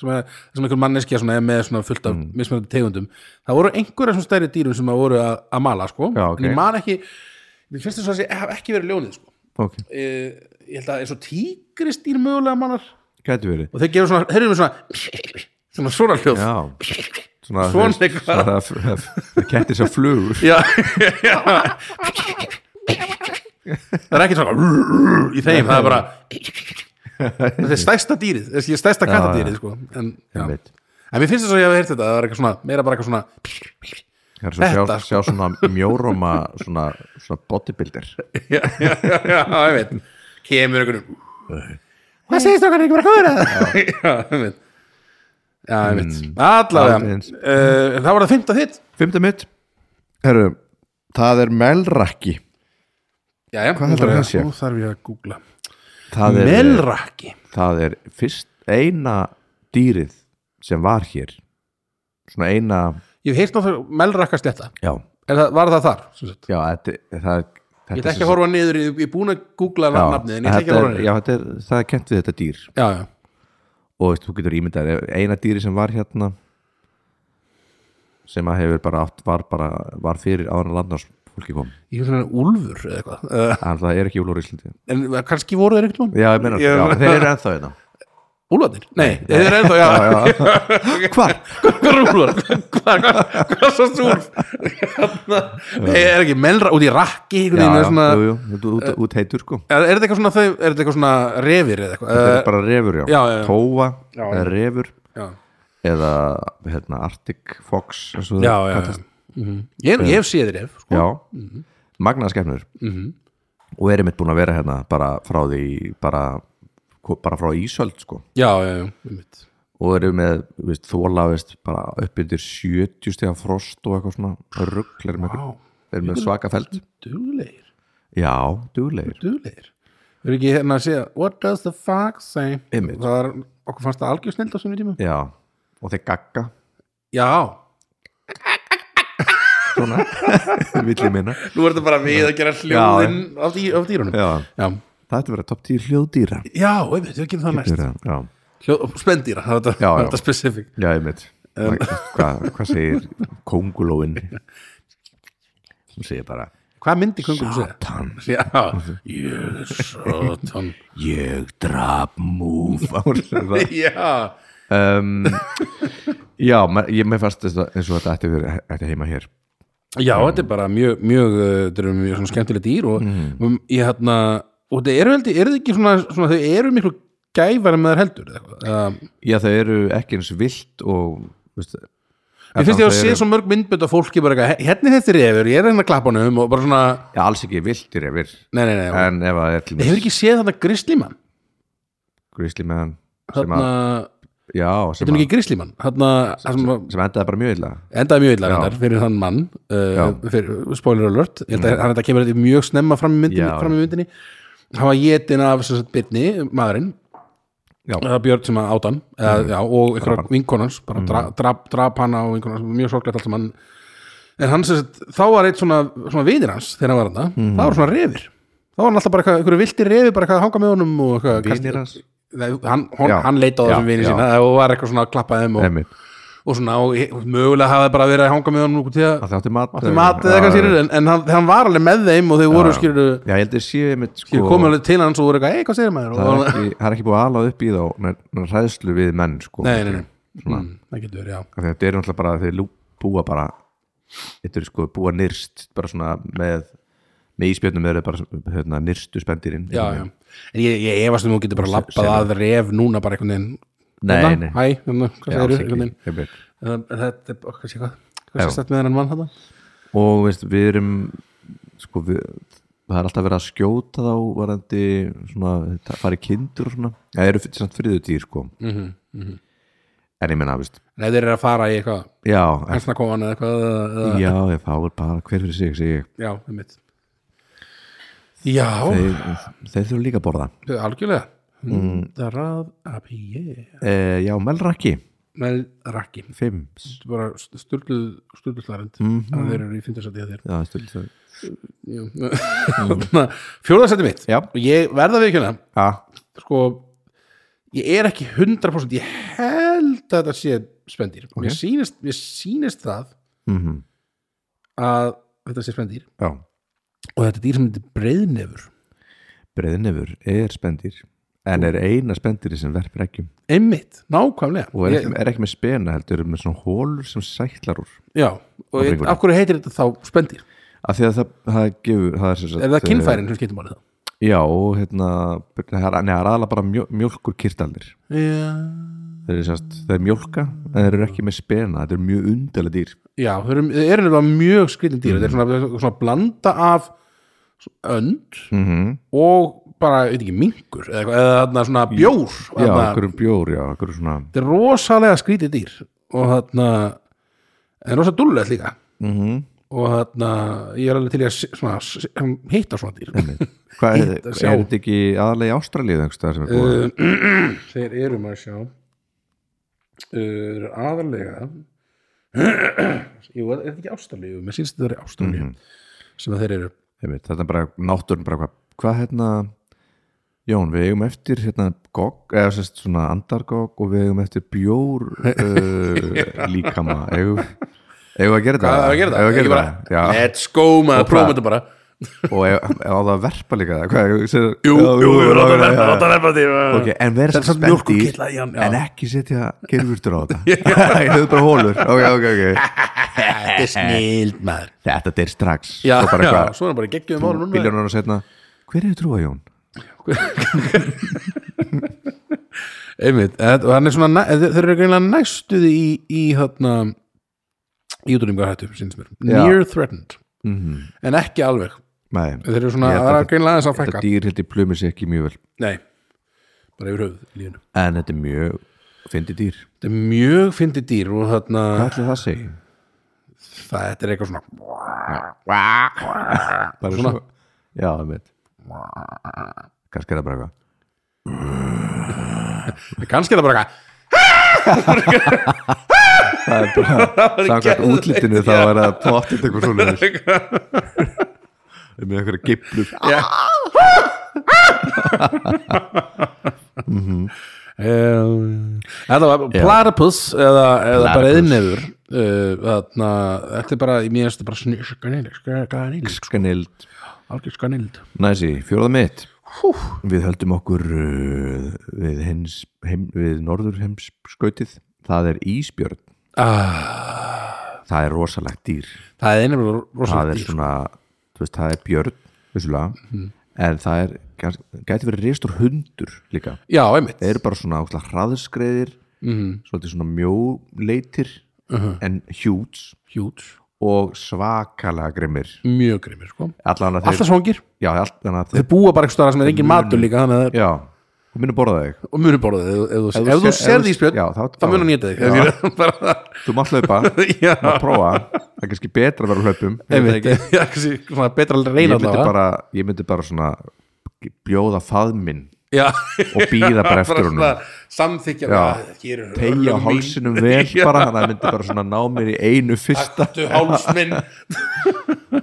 sem, er, sem einhver manneskja svona, er með svona fullt af mismunandi tegundum það voru einhverja svona stærri dýrum sem að voru að, að mala sko,
Já, ok.
en ég man ekki mér finnst þess að það hef ekki verið ljónið sko.
ok,
e, ég held að eins og tígristýr mögulega malar
gæti verið
og þeir gerur svona, þeir eru svona svona svona hljóð
já,
Svona
svona, þú veist,
eitthvað.
svona það kettir sem flugur
já, já. það er ekki svona í þeim, það er bara þetta er stærsta dýrið, þessi er stærsta kattadýrið sko. en, já.
Einmitt.
en mér finnst þess að ég hef heyrt þetta það var eitthvað svona, meira bara eitthvað svona
Það er svo að
Þetta,
sjá, sjá svona mjóróma svona, svona bodybuilder
já, já, já, já, ég veit kemur einhvern hvað segist okkar ekki bara góður að já, ég veit já, ég veit, allavega uh,
Alveg Mm. eins.
það var það fymta þitt
Fymta mitt Herru, það er melrakki
já, já,
Hvað heldur
nú
það
þarf ég-
sé?
nú þarf ég að googla
það er,
melrakki
það er fyrst eina dýrið sem var hér svona eina
ég hef heyrt náttúrulega melrakka sletta
já,
Er það, var það þar? sem sagt?
já þetta, það, þetta
Ég ætla ekki að horfa niður, í- ég er búin að googla
já,
nafnið, en ég ætla ekki
þetta
að
er,
horfa
já,
niður
þetta er, það er kent við þetta dýr
Já, já,
og veist, þú getur ímyndað þér, eina dýri sem var hérna sem að hefur bara átt var, bara, var fyrir áður að landnars fólki kom
ég er svona úlfur eða eitthvað uh,
en það er ekki úlur í Íslandi
En kannski voru þeir einhvern veginn?
Já, ég meina,
Ég-
já, þeir eru ennþá hérna
Úlfarnir? Nei, þeir eru ennþá, já, já, já.
Hvar?
Hvað er úlfar? Hvað hva, hva er svo úlf? Hérna. Nei, er ekki melra út í rakki
Já,
einhvern veginn er svona
jú, jú, út, út,
Eh,
út heitur sko
Er, er þetta eitthvað svona þau, er þetta eitthvað svona revir eða eitthvað?
Þetta
Uh,
er bara refur, já,
já, já, já.
Tóa,
Já.
eða refur
já,
eða hérna, Arctic Fox eins og
já,
það
já, já.
kallast.
Mhm. Ég, ég hef séð ref sko.
já. Mm -hmm. Magnaðskefnur og erum mitt búin að vera hérna bara frá því bara, bara frá Ísöld sko
Já, já, já, einmitt.
og erum með þú veist, þóla veist, bara upp undir 70 stiga frost og eitthvað svona rugg erum,
Vá,
wow. erum með svaka feld
duglegir
Já, duglegir
duglegir Við erum ekki hérna að segja What does the fuck say
Einmitt.
Það var, okkur fannst það algjör snild á svona tíma
Já, og þeir gagga
Já,
svona, villi minna
nú er þetta bara við að gera hljóðin af, dý, af dýrunum Já,
Já,
já,
það ætti að vera top 10 hljóðdýra
já einmitt, við gerum það næst
Dýra, Já,
Hljóð, Spendýra, það var þetta-
Já,
það var
já.
þetta specific
já ég veit Hvað hva segir kongulóin? Hún segir bara
Hvað myndi kungum segja?
Tan,
Já, yes, satan
ég draf múf um,
Já,
Já, ma- ég með fast þess að- eins og þetta ætti að vera ætti heima hér
Já, þetta er bara mjög, mjög, uh, þetta eru mjög svona skemmtileg dýr og mm. ég hérna, og þetta eru heldur, eru þið ekki svona, svona þau eru miklu gæfari með þær heldur eða eitthvað. Uh,
Já, það eru ekki eins vilt og veist,
ég finnst ég að
þau
sé
eru-
svo mörg myndbönd af fólki bara eitthvað, "He- hérna þetta er yfir, ég er hérna að klappa honum og bara svona,
Já, alls ekki viltir yfir
nei, nei, nei,
en ef að er til
ég hefur ekki séð þarna grislímann,
gríslimann sem
þarna,
að, já,
þetta
sem,
er
að
ekki grislímann, þarna, það sem að,
sem endaði bara mjög illa
endaði mjög illa
Já.
reyndar fyrir þann mann
Já. Mm.
uh, fyrir, spoiler alert, ég held að hann þetta kemur þetta mjög snemma fram í myndinni,
Já.
fram í myndinni. hann var getin af sem sagt, Byrni, maðurinn
Já.
það var Björn sem að átan eða,
Mm.
já, og einhverja vinkonans bara dra, drap, drap hana og vinkonans mjög sorglegt allt sem hann en hann sem sagt, þá var eitt svona, svona vinir hans þegar hann var hann,
Mm.
það var svona refir þá var hann alltaf bara eitthvað, einhverju vilti refi bara eitthvað að hanga með honum og eitthvað
Vinir hans?
Nei, hann, hon,
Já.
hann leita á
Já,
þessum vinir
já.
sína og var eitthvað svona að klappa þeim og,
Einmitt.
og svona og ég- mögulega hafði bara verið að hanga með honum út í að
að það átti mat
átti mat eða eitthvað skýrur en, en hann, hann var alveg með þeim og þau voru skýrur
já, ég held að sé einmitt sko,
skýrur komið alveg til hans og voru eitthvað, ei, hvað segir maður
það,
og,
er ekki, það er ekki búið að alað upp í þá ne- ne- hræðslu við menn sko,
nei, nei, nei,
Svona.
Mm, það getur verið, já
Af því að þetta er náttúrulega bara að þeir lú- búa bara þetta er sko búa nyrst bara svona með með íspjörnum eru bara svona, hérna, nyrstu spendirinn
já, já. en ég, ég efast um hún getur bara lappað
segðu.
að ref núna bara einhvern veginn
Nei, nei.
hæ, hérna, hvað
Já, alls
segir
ekki,
einhvern veginn
einmitt.
En þetta er bara, hvað sé hvað hvað
Já.
sé stætt með hennan mann þetta
og veist, við erum sko við, það er alltaf verið að skjóta þá varandi svona, þetta fara í kindur og svona það eru fyrir- samt friðutýr sko
mm -hmm.
en ég menna, veist,
en ef þeir eru að fara í eitthvað
já en,
hensna kofan eða eitthvað eða-
já, ég fáur bara hver fyrir sig segi, ég.
já, um mitt já,
þeir, þeir Mm. þurfum líka að borða
algjörlega hundrað API
e, já, melrakki,
með rakki
5
Þetta er bara sturgluð sturgluðlarend mm
Mhm.
-hmm. að þeir eru í fyndarsæti að
já, stund, stund.
þér fjóðarsæti mitt
Mhm. Já.
og ég verða við kjöna
já,
sko, ég er ekki 100% ég held að þetta sé spendir, okay. mér, sýnist, mér sýnist það
mm
að þetta sé spendir
já.
og þetta er dýr sem heitir breiðnefur
breiðnefur er spendir en er eina spendir sem verpir ekki
einmitt, nákvæmlega
og er
ég,
ekki, er ekki með spena heldur er með svona hólur sem sætlar úr
já, og ég,
bringunni.
af hverju heitir þetta þá spendir
af því að það, það gefur það er, sem sagt,
er það kynfærin sem skiptum alveg það
eh, já, og hérna það er nei, það er aðalega bara mjó, mjólkur kirtaldir
já,
þeir eru sérst, þeir eru mjólka en þeir eru ekki með spena, þetta eru mjög undarlega dýr
já þau eru, þau eru nefnilega mjög skritin dýr þetta er svona, svona blanda af önd
mm -hmm.
og bara, veit ekki, mingur eða, eitthvað, eða þarna svona bjór
já,
þarna.
einhverjum bjór, já, einhverjum svona
þetta er rosalega skrítið dýr og þarna en rosa dullet líka
mm
og þarna, ég er alveg til í að s- svona, s- hitta svona dýr
hvað er,
Fínt að sjá.
er þetta ekki aðalega í Ástralíu einhvers staðar sem er búið
Uh, þeir eru maður að sjá uh, aðalega jú, er þetta ekki ástallíu mér sínst þetta er ástallíu sem að þeir eru
Einmitt, þetta er bara náttúrun bara hvað, hvað hérna Jón, við eigum eftir hérna gogg, eða sérst svona andargogg og við eigum eftir bjór uh, líkama eigum, eigum við að gera þetta?
Hvað er að gera það?
Eigum við að
Ekki
gera það?
bara,
Já,
let's go maður,
hvað-
prófum þetta bara
og ef- ef á það að verpa líka það? Hvað, jú,
Jú, jú, jú, láta verpa,
já,
láta verpa því
Ok, en verið
Þetta er samt
spendýr
mjólkurkitla í hann, já.
en ekki setja gerfurtur á þetta ég hefði bara hólur ok, ok, ok,
Þetta er snild maður
þetta deyr strax
Já,
svo bara
já,
eitthvað,
svo er hann bara geggjum ára núna
biljónar og setna hver er þið trúa Jón?
Einmitt, eð- og hann er svona næ- eð- þeir eru greinlega næstuði í, í þarna í útrýmgarhættu, sínst mér
Já.
Near threatened,
Mm
en ekki alveg
Nei,
þeir eru svona,
Ég held
það
að
er greinlega aðeins að
þetta
fækka
dýr heldur plumir sér ekki mjög vel
Nei, bara yfir höfuð í lífinu.
en þetta er mjög fyndi dýr
Þetta er mjög fyndið dýr og þarna
hvað ætli það segi?
það, þetta er eitthvað svona
bara svona já, það veit kannski er það bara eitthvað
kannski er það bara eitthvað
það er bara samkvæmt útlitinu þá er það pottit eitthvað svona með einhverja giblur
Um, þetta var platypus eða, eða bara
Platypus.
eðnefur uh, þarna, þetta er bara í mér þetta er bara snýr, skanild, skanild
skanild
algjör skanild
næsi, fjóða mitt
Hú.
við höldum okkur uh, við, hins, heim, við norður heimskautið það er Ísbjörn
ah,
það er rosalegt dýr
það er nefnilega
það
rosalega
er
dýr
svona, þú veist, það er björn vissulega,
Mhm.
en það er gæti verið reistur hundur líka
já, einmitt,
þeir eru bara svona ákla hraðskreiðir
Mhm. Uh-huh.
svolítið svona mjóleitir en hjúts
hjút
og svakalega grimmir
mjög grimmir, sko,
allan að þeir
alltaf svangir
já, allan að þeir
þeir búa bara eitthvað sem er engin matur líka þannig að það er,
já, þú minnur borða þig
og munur borða þig ef, ef, ef, ef þú
sér- ef
serð
þú-
í spjöld,
já, þá-
þá munur hann geta þig bara,
þú mátt hlaupa,
já,
þú mátt prófa það er kannski betra að vera á hlaupum Ég veit það
einmitt já, kannski svona betra að
ég
reyna
myndi,
allavega
bara, ég myndi bara svona bjóða faðminn
já,
og býða bara eftir honum
svona samþykja
Já.
bara, hér eru
tegja
örlög mín.
hálsinum vel bara þannig að það myndi bara svona ná mér í einu fyrsta
Taktu háls minn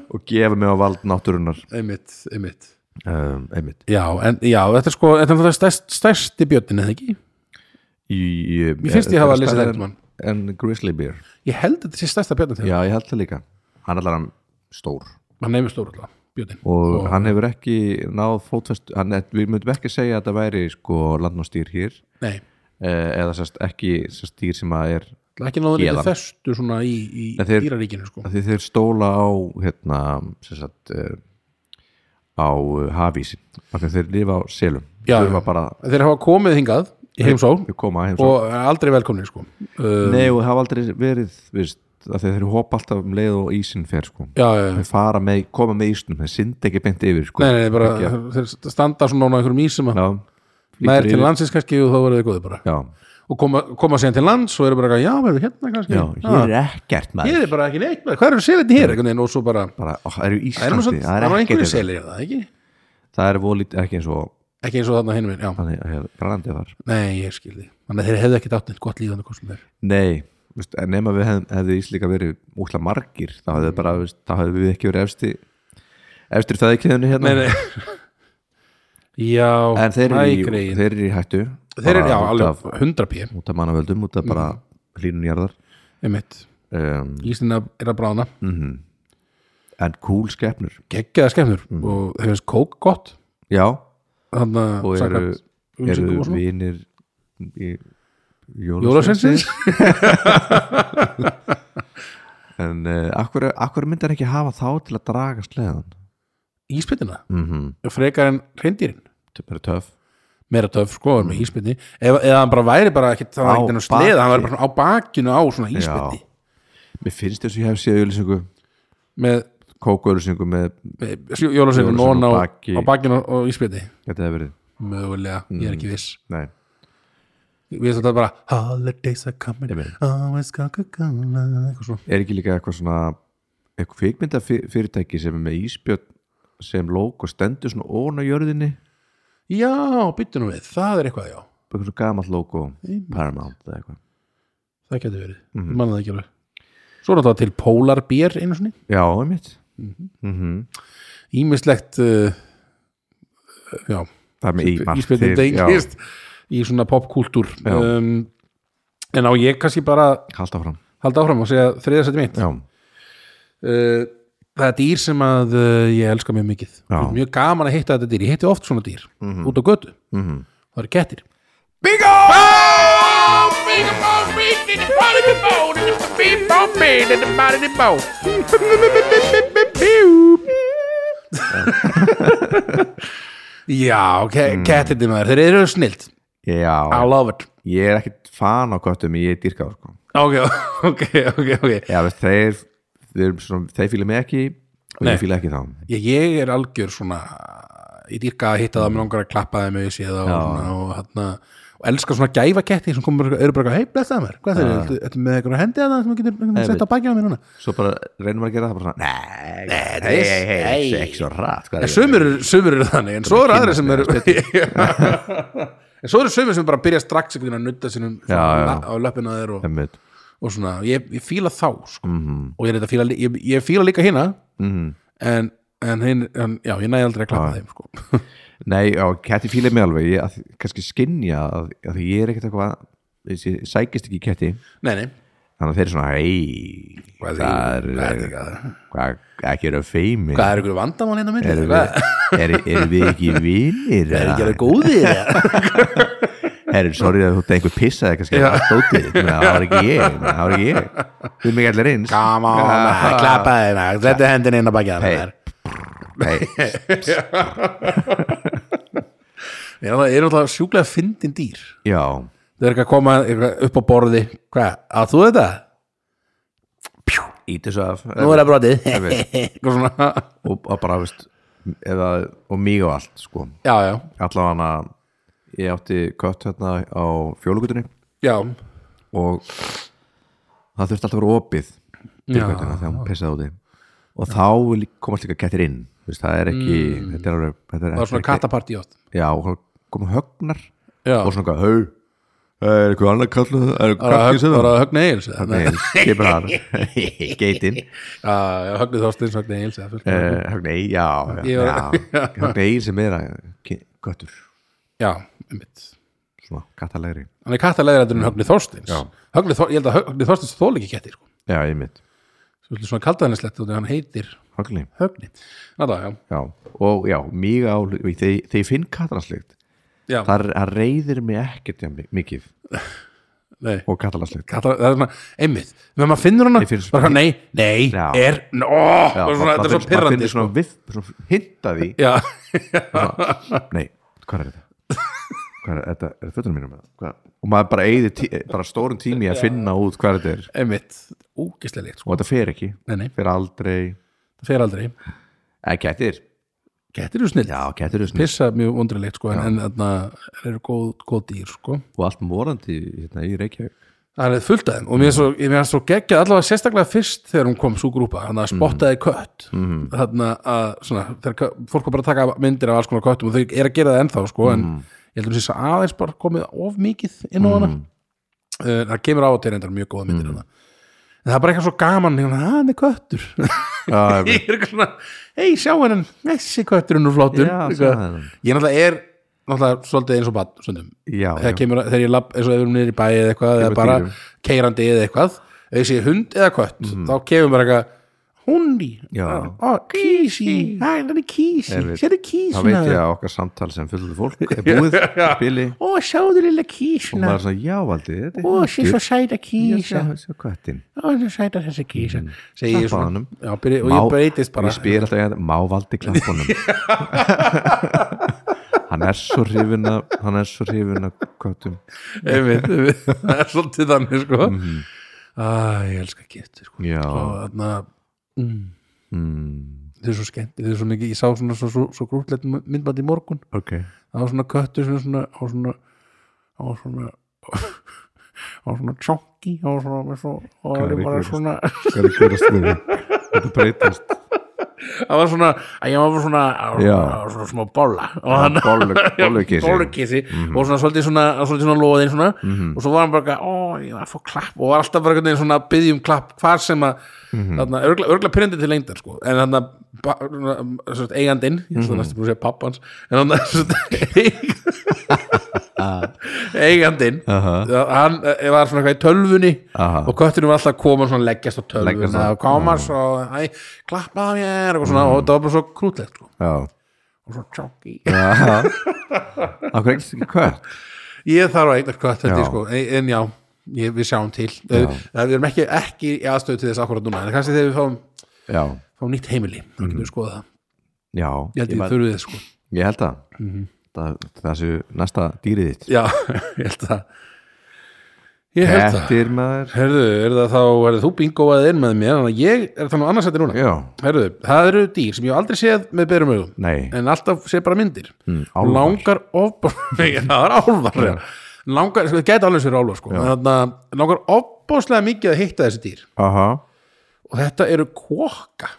og gefa mig á vald náttúrunar
einmitt, einmitt
um, einmitt
já, en, já, þetta er sko, þetta er náttúrulega stærst, stærsti bjötin eða ekki
í, í,
Mér finnst ég hafa lesið það einhvern
en, en Grizzly Bear
ég held að þetta sé stærsta bjötin þegar
já ég held það líka hann allar hann stór
hann nefnir stór alltaf, bjötin
og hann hefur ekki náð fótfest hann, við myndum ekki segja að það væri sko landnástýr hér
nei,
eh, eða sérst ekki sérst dýr sem að er
það er ekki náður
Héðan.
neitt festu svona í, í
Nei, þeir-
dýraríkinu sko
af því þeir stóla á hérna sem sagt eh, á eh, hafísin af því þeir lifa á selum
Já,
þeir
já.
var bara
þeir hafa komið hingað í heimsó
að koma heim svo
og er aldrei velkomni sko uh,
nei og hafa aldrei verið viðst, af því þeir hopa alltaf um leið og ísin fer sko
já, já, já
þeir fara með, koma með ísnum þeir synd ekki beint yfir sko
Nei, nei, nei, bara,
Ekki að-
þeir standa svona á einhverjum ísum að
já,
nær
flýtur
til
yfir.
landsins kannski og þá verður þeir góði bara
já,
og koma, koma síðan til lands og eru bara eitthvað, já, verður hérna kannski
já, hér er ekkert maður
Ég er bara ekki neitt, maður. hvað eru selitni hér? Einhvern veginn og svo bara,
bara, ó, það eru
það er nú
Íslandi,
samt,
það
það
er
var
ekkert hérna."
einhverju
yfir.
selir það, ekki?
það er volít ekki eins og
Ekki eins og þarna hinum minn, já.
þannig að hérna, grandið var
Nei, ég skilði. Þannig að þeir hefðu ekki dátt neitt gott líðan og kostum þeir.
Nei, veist, en nema við hefðum hefði Íslika verið útla margir þá hefði, bara, veist, þá hefði við ekki verið efsti efstir það ekki þenni hérna
Já,
en þeir eru,
hæ,
í,
greyin.
þeir eru í hættu
Þeir eru,
bara
já,
út af,
alveg 100 pí,
út af mannavöldum, út af bara
Mhm.
hlínun jarðar
einmitt.
um, mhm.
Íslina er að brána.
Mm. en cool skepnur
Geggjaða skemmur
Mm.
og þeir finnst kók gott.
já,
Þannig
og
að
eru,
umsingum
eru
og svona.
vinir í
Jólasveinsins?
en uh, akkur, akkur myndar ekki hafa þá til að draga sleðan
Íspytina.
mm
Frekar en reyndýrin.
það er töff
meira töf sko, mm. með íspiti eða, eða hann bara væri bara ekkit það var
Á
ekkit enn sleða, hann væri
baki.
bara svona á bakinu á svona íspiti
mér finnst þess að ég hef séð auðlýsingu
með,
kókauðlýsingu með
með jólasöku
Jólasveinn
nón á,
á baki.
á bakinu og íspiti
Gæti það verið?
mögulega, ég
Mm.
er ekki viss
Nei.
við erum þetta bara holidays are coming,
Ég meina.
always Coca-Cola eitthvað svona,
Er ekki líka eitthvað svona eitthvað kvikmynda fyrirtæki sem er með íspjörn sem lók og stendur svona ón á jörðinni
já, byttu nú við það er eitthvað, já,
eitthvað svona gamalt lóko Paramount eða eitthvað
það getur verið
Mhm.
mm. manna það ekki alveg svo er þetta til Polar Beer einu svona
Já, einmitt Mhm.
ímislegt uh, já,
Það er með í margt
íspjöldin
já,
dengist í svona popkúltúr um, en á ég kannski bara að
halda áfram
halda áfram og segja þriðarsætti mitt
Já,
uh, það er dýr sem að uh, ég elska mjög mikið
Já. Mhm.
mjög gaman að hitta þetta dýr, ég hitti oft svona dýr út á götu, það eru kettir
Bingo! Bong, bingo, bong, bing, ding, ding, bong, ding, bong, ding, ding, bing, bong, bing, ding, ding, bong, ding, ding, bong.
já, ke kettir maður, þeir eru snilt I
Mhm. já
love it
Ég er ekkit fan á köttum, ég er dýrkáð sko.
ok, ok, ok, ok
Já, veist, þeir, þeir, svona, þeir fíla mig ekki og
Nei.
ég fíla ekki þá
ég, ég er algjör svona ég dýrka að hitta það, mér langar að klappa þeim ef ég sé það og, svona, og, hana, og elska svona gæfaketti sem komur eru bara, hei, blessaði mér hvað þeir eru, ertu með eitthvað hendi að það sem þú getur sett á bakið á mér núna
Svo bara reynum að gera það bara svona Nei,
Nei,
hei,
nei.
hei, hei, hei, ekki svo rætt
en sumur, eru- sumur eru þannig, en svo eru aðri sem eru en svo eru sumur sem bara byrja strax einhvern veginn að nutta sínum svona
Já, já.
la- á löppina þeir og,
Einmitt.
og svona, ég, ég fíla þá sko. og ég, er þetta fíla, lí- ég, ég fíla líka hina
Mhm.
en, en, hin, en já, ég næ aldrei að klappa þeim sko.
Nei, já, ketti fíla mig alveg ég, að, kannski skinja að, að ég er ekkert eitthvað ég sé- sækist ekki í ketti
nei, nei
þannig að þeir eru svona ei,
Hvað
það
er-
er,
hvað er þetta?
hvað, ekki eru feimin
Hvað er ykkur vandamál hérna með
erum við, er, erum við ekki vinir
Er ekki alveg góðir? eða?
góð Herri, sorry að þú þetta einhver pissaði kannski að stótið, þitt." Ég meina, það var ekki ég ég meina, það var ekki ég, við erum ekki allir eins
Come on, klappaði hérna Settu hendin inn á bakið
Hey.
þér.
Nei,
Ég er náttúrulega- ég er náttúrulega sjúklega fyndin dýr
já,
Það er ekki að koma eitthvað upp á borði Hvað, að þú þetta?
íti svo af
Nú er það brotið Eitthvað svona
og, og bara, veist eða, og mig og allt, sko
Já, já,
allavega ég átti kött hérna á fjólugutunni
já,
og það þurfti alltaf að vera opið til
Já.
göttuna þegar hún pissaði úti og þá vil- komast líka kettir inn Þú veist, það er ekki þetta er alveg þetta er,
það var Mm. svona kattapartí átt
já, og þá komu högnar
Já,
og svona eitthvað, hau er eitthvað annað kallu er
það var að
kallu
högn-
sem
var
það
að högna eils
Nei, skipur þar geitin,
Já, já, högnu þorstins, högna eils
uh, högnei,
Ég
já, já,
var-
já. högnei sem er að ki- köttur
Já, einmitt
svona kattalegri
Hann er kattalegrættur en högnu þorstins högnu, Þor- Ég held að högnu þorstins þóla ekki kettir sko.
já, ég mitt,
Svolítið Svona kaldaðinnislegt og hann heitir
högnei
högni Náttúrulega, já,
já, og já, mig á þegar þegar ég finn kattalanslíkt
já
það það reyðir mig ekkert jafn mi- mikið
Nei
og kattalanslíkt
Kata, það er svona, einmitt, þegar maður finnur hana
Ég finn svo-
bara svona, nei, nei,
Já.
er ó, bara svona, þetta er svo pirrandi sko.
maður finnir svona, sko viff, svona hinta því
já,
nei, hvað er þetta? hvað er þetta, er þetta fötunum mínum? eða? Hvað? og maður bara eyðir tí, bara stórum tími að finna út hvað þetta er
einmitt, úkislega líkt sko.
og þetta fer ekki,
nei, nei,
fer aldrei
það fer aldrei
eða kettir,
getur þú snill,
já, kettir er svona
pissa mjög undrilegt sko, en- en þarna eru góð, góð dýr sko.
og allt morandi hérna, í Reykjavík
það er fullt af þeim og mér er svo, ég mér er svo geggjað allavega sérstaklega fyrst þegar hún kom svo grúpa hann að spottaði kött mm. þannig að svona, þegar kö- fólk var bara að taka myndir af alls konar köttum og þau er að gera það ennþá sko, en ég heldur þess að aðeins bara komið of mikið inn á hana uh, það kemur á og til reyndar mjög góða myndir mm. en það er bara eitthvað svo gaman hérna, "Ah, hann er köttur
Já,
ég er eitthvað svona, hei sjá hennan þessi köttur hún er flottur
Já,
Eitthvað.
sjá þennan.
ég náttúrulega er náttúrulega svolítið eins og bann stundum
Já,
þegar,
já.
Kemur, þegar ég lapp eins og ef við erum niður í bæi eða eitthvað eða
Kemur
bara
dýrum.
keirandi eða eitthvað ef ég sé hund eða kött þá kemur bara eitthvað hundi,
Mhm.
Ah,
Já.
ó, kísi hæ, Ah, hann er kísi,
Einmitt.
sérðu
þá
kísina
veit ég að okkar samtal sem fullur fólk er búið, spili
ó, sjáðu lilla
og
kísina
maður er svona, já, valdi, þetta er
ó, sé svo
hundur.
sæta
Já,
kísa
sjá- sjá köttin
ó, sé sæta þessi kísa segi ég
Klappa
svona,
Mhm. honum.
já, byrja, og ég breytist bara
ég spyr alltaf hérna, má valdi klappunum hann er svo hrifin af hann er svo hrifin af köttum
einmitt, einmitt. það er svolítið þannig sko mm ég elska getur sko.
Já.
og þarna mm. þau er svo skemmt þau er svo mikið, ég sá svona svo, svo, svo grútlegt myndbætt í morgun,
ok,
það var svona köttur sem er svona, á svona á svona á svona tjónki á svona, með svo, og það
Hvað
var
er að
bara
gerast?
svona
hvað er að gerast með þig þetta breytast,
það var svona, að ég var svona á
Já.
svona, á svona smá bolla og hann
bollug- bollukissi. Mhm.
bollukissi og svona svolítið svona, svolítið svona loðin svona og svo var hann bara, eitthvað, ó, ég var að fá klapp og var alltaf bara einhvern veginn svona að byggja um klapp hvar sem að,
Mhm.
þarna, örgla, örgla pyrrandi til lengdar sko, en þarna ba- svona, sem sagt, eigandinn, ég
Mhm.
ætla næstu búin að segja pappans en þarna sem sagt, eigandinn það- hann eh, var svona eitthvað í tölvunni
Aha.
og kötturinn var alltaf að koma og svona leggjast á
Leggjast
tölvuna
á-
og koma svo, æ, klappa á mér og
Mm.
svona, og það var bara svo krútlegt sko.
já
og svo tjóki
já okkur eignast ekki kött
ég þarf að eignast hvað þetta
Já.
er sko en, en já, ég, við sjáum til það, það, við erum ekki, ekki í aðstöðu til þess akkurat núna en kannski þegar við fáum,
já,
fáum nýtt heimili þá getum við skoða það,
já,
ég Mhm. held
Mm. ég,
ég
man-
þurfið þess sko
ég held að það, það séu næsta dýrið þitt
já, ég held það ég held það
kettir maður
Herðu, er það þá, er þú bingoað inn með mér þannig að ég er þannig annars þetta núna
já,
Herðu, það eru dýr sem ég hef aldrei séð með berum augum
nei,
en alltaf sé bara myndir mm,
álfar.
langar ofbor Nei, það er álvar ja. langar, sko, það gæti alveg sér álvar sko. en þarna, langar ofbóðslega mikið að hitta þessi dýr
aha
og þetta eru kvokka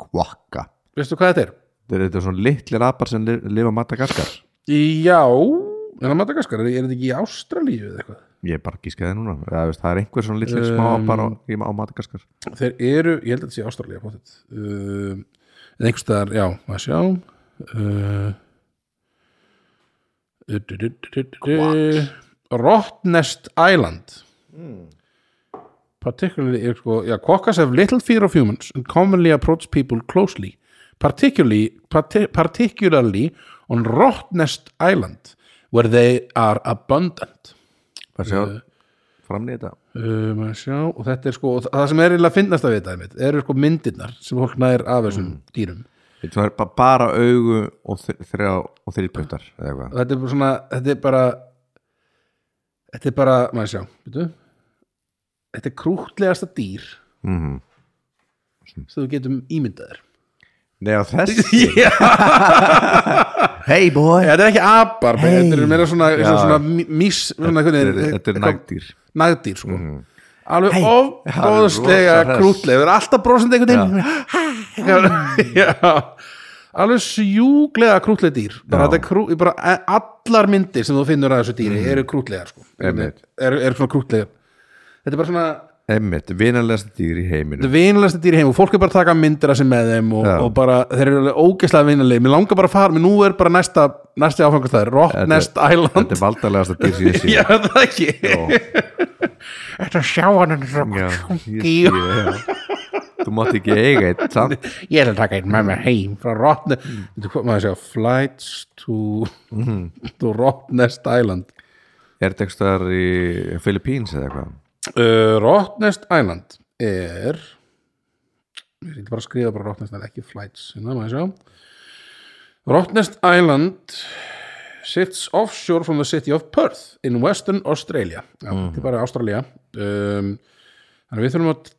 kvakka
veistu hvað þetta er?
Þeir eru svona litlir apar sem li- lifa á Madagaskar
Já, en það Madagaskar, er, er þetta ekki í Ástralíu eða eitthvað?
Ég er bara gískaði núna Eða, veist, Það er einhver svona litlir
Um,
smá apar á, í- á Madagaskar
Þeir eru, ég held að þetta sé Ástralíu pottet um, en einhvers staðar, já, að sjá uh, du- du- du- du- du- du- Rottnest Island particularly er sko, já, quokkas have little fear of humans and commonly approach people closely particularly, parti, particularly on Rottnest Island where they are abundant
Bara sjá
Eh.
framni þetta
um, að sjá, og þetta er sko og það sem er eiginlega að finnast að vita einmitt, eru sko myndirnar sem fólk nær af þessum dýrum
Þetta var ba- bara augu og þr- þrjá og þrýpöntar eða
og
eitthvað
þetta er bara svona, þetta er bara þetta er bara, maður sjá veitu? þetta er krútlegasta dýr
mm
sem þú getum ímyndaðir
Nei á þess
já,
Hey boy
þetta er ekki apar hey.
Hey.
þetta er meira svona,
Já.
svona mí- mís svona,
Þetta er,
hvernig,
þetta er nægdýr
nagdýr sko alveg hey.
Hey. Já, Mhm. rosa
ofbóðslega
hress.
krútleg það er alltaf brosandi einhvern veginn já. alveg sjúglega krútleg dýr bara,
Já. Mhm.
þetta er krú, bara a- allar myndir sem þú finnur að þessu dýri eru krútlegar sko. eru,
Einmitt.
eru svona krútlegar þetta er bara svona
Einmitt, vinalegasta dýr í heiminum
vinalegasta dýr í heim og fólk er bara að taka myndir að sem með þeim og,
Já.
og bara, þeir eru alveg ógeðslega vinalegi mér langar bara að fara, mér nú er bara næsta næsti áfangastæður, Rock
Þetta-
Nest Island
Þetta er valdalegasta dýr sem ég sé
já, það er ekki
Þetta sjá hann hann svo
Já, ég sé það, já. Þú mátt ekki eiga eitt samt
ég ætla að taka einn með mér heim frá Rottne
Mm.
Þú hvað maður að segja flights to,
Mhm.
to Rottnest Island
Er þetta ekki stöðar í Philippines eða eitthvað?
uh, Rottnest Island er ég ætla bara að skrifa bara Rottnest Island ekki flights hérna maður að sjá Rottnest Island sits offshore from the city of Perth in western Australia já,
Mhm.
þetta er bara Ástralía um, þannig að við þurfum að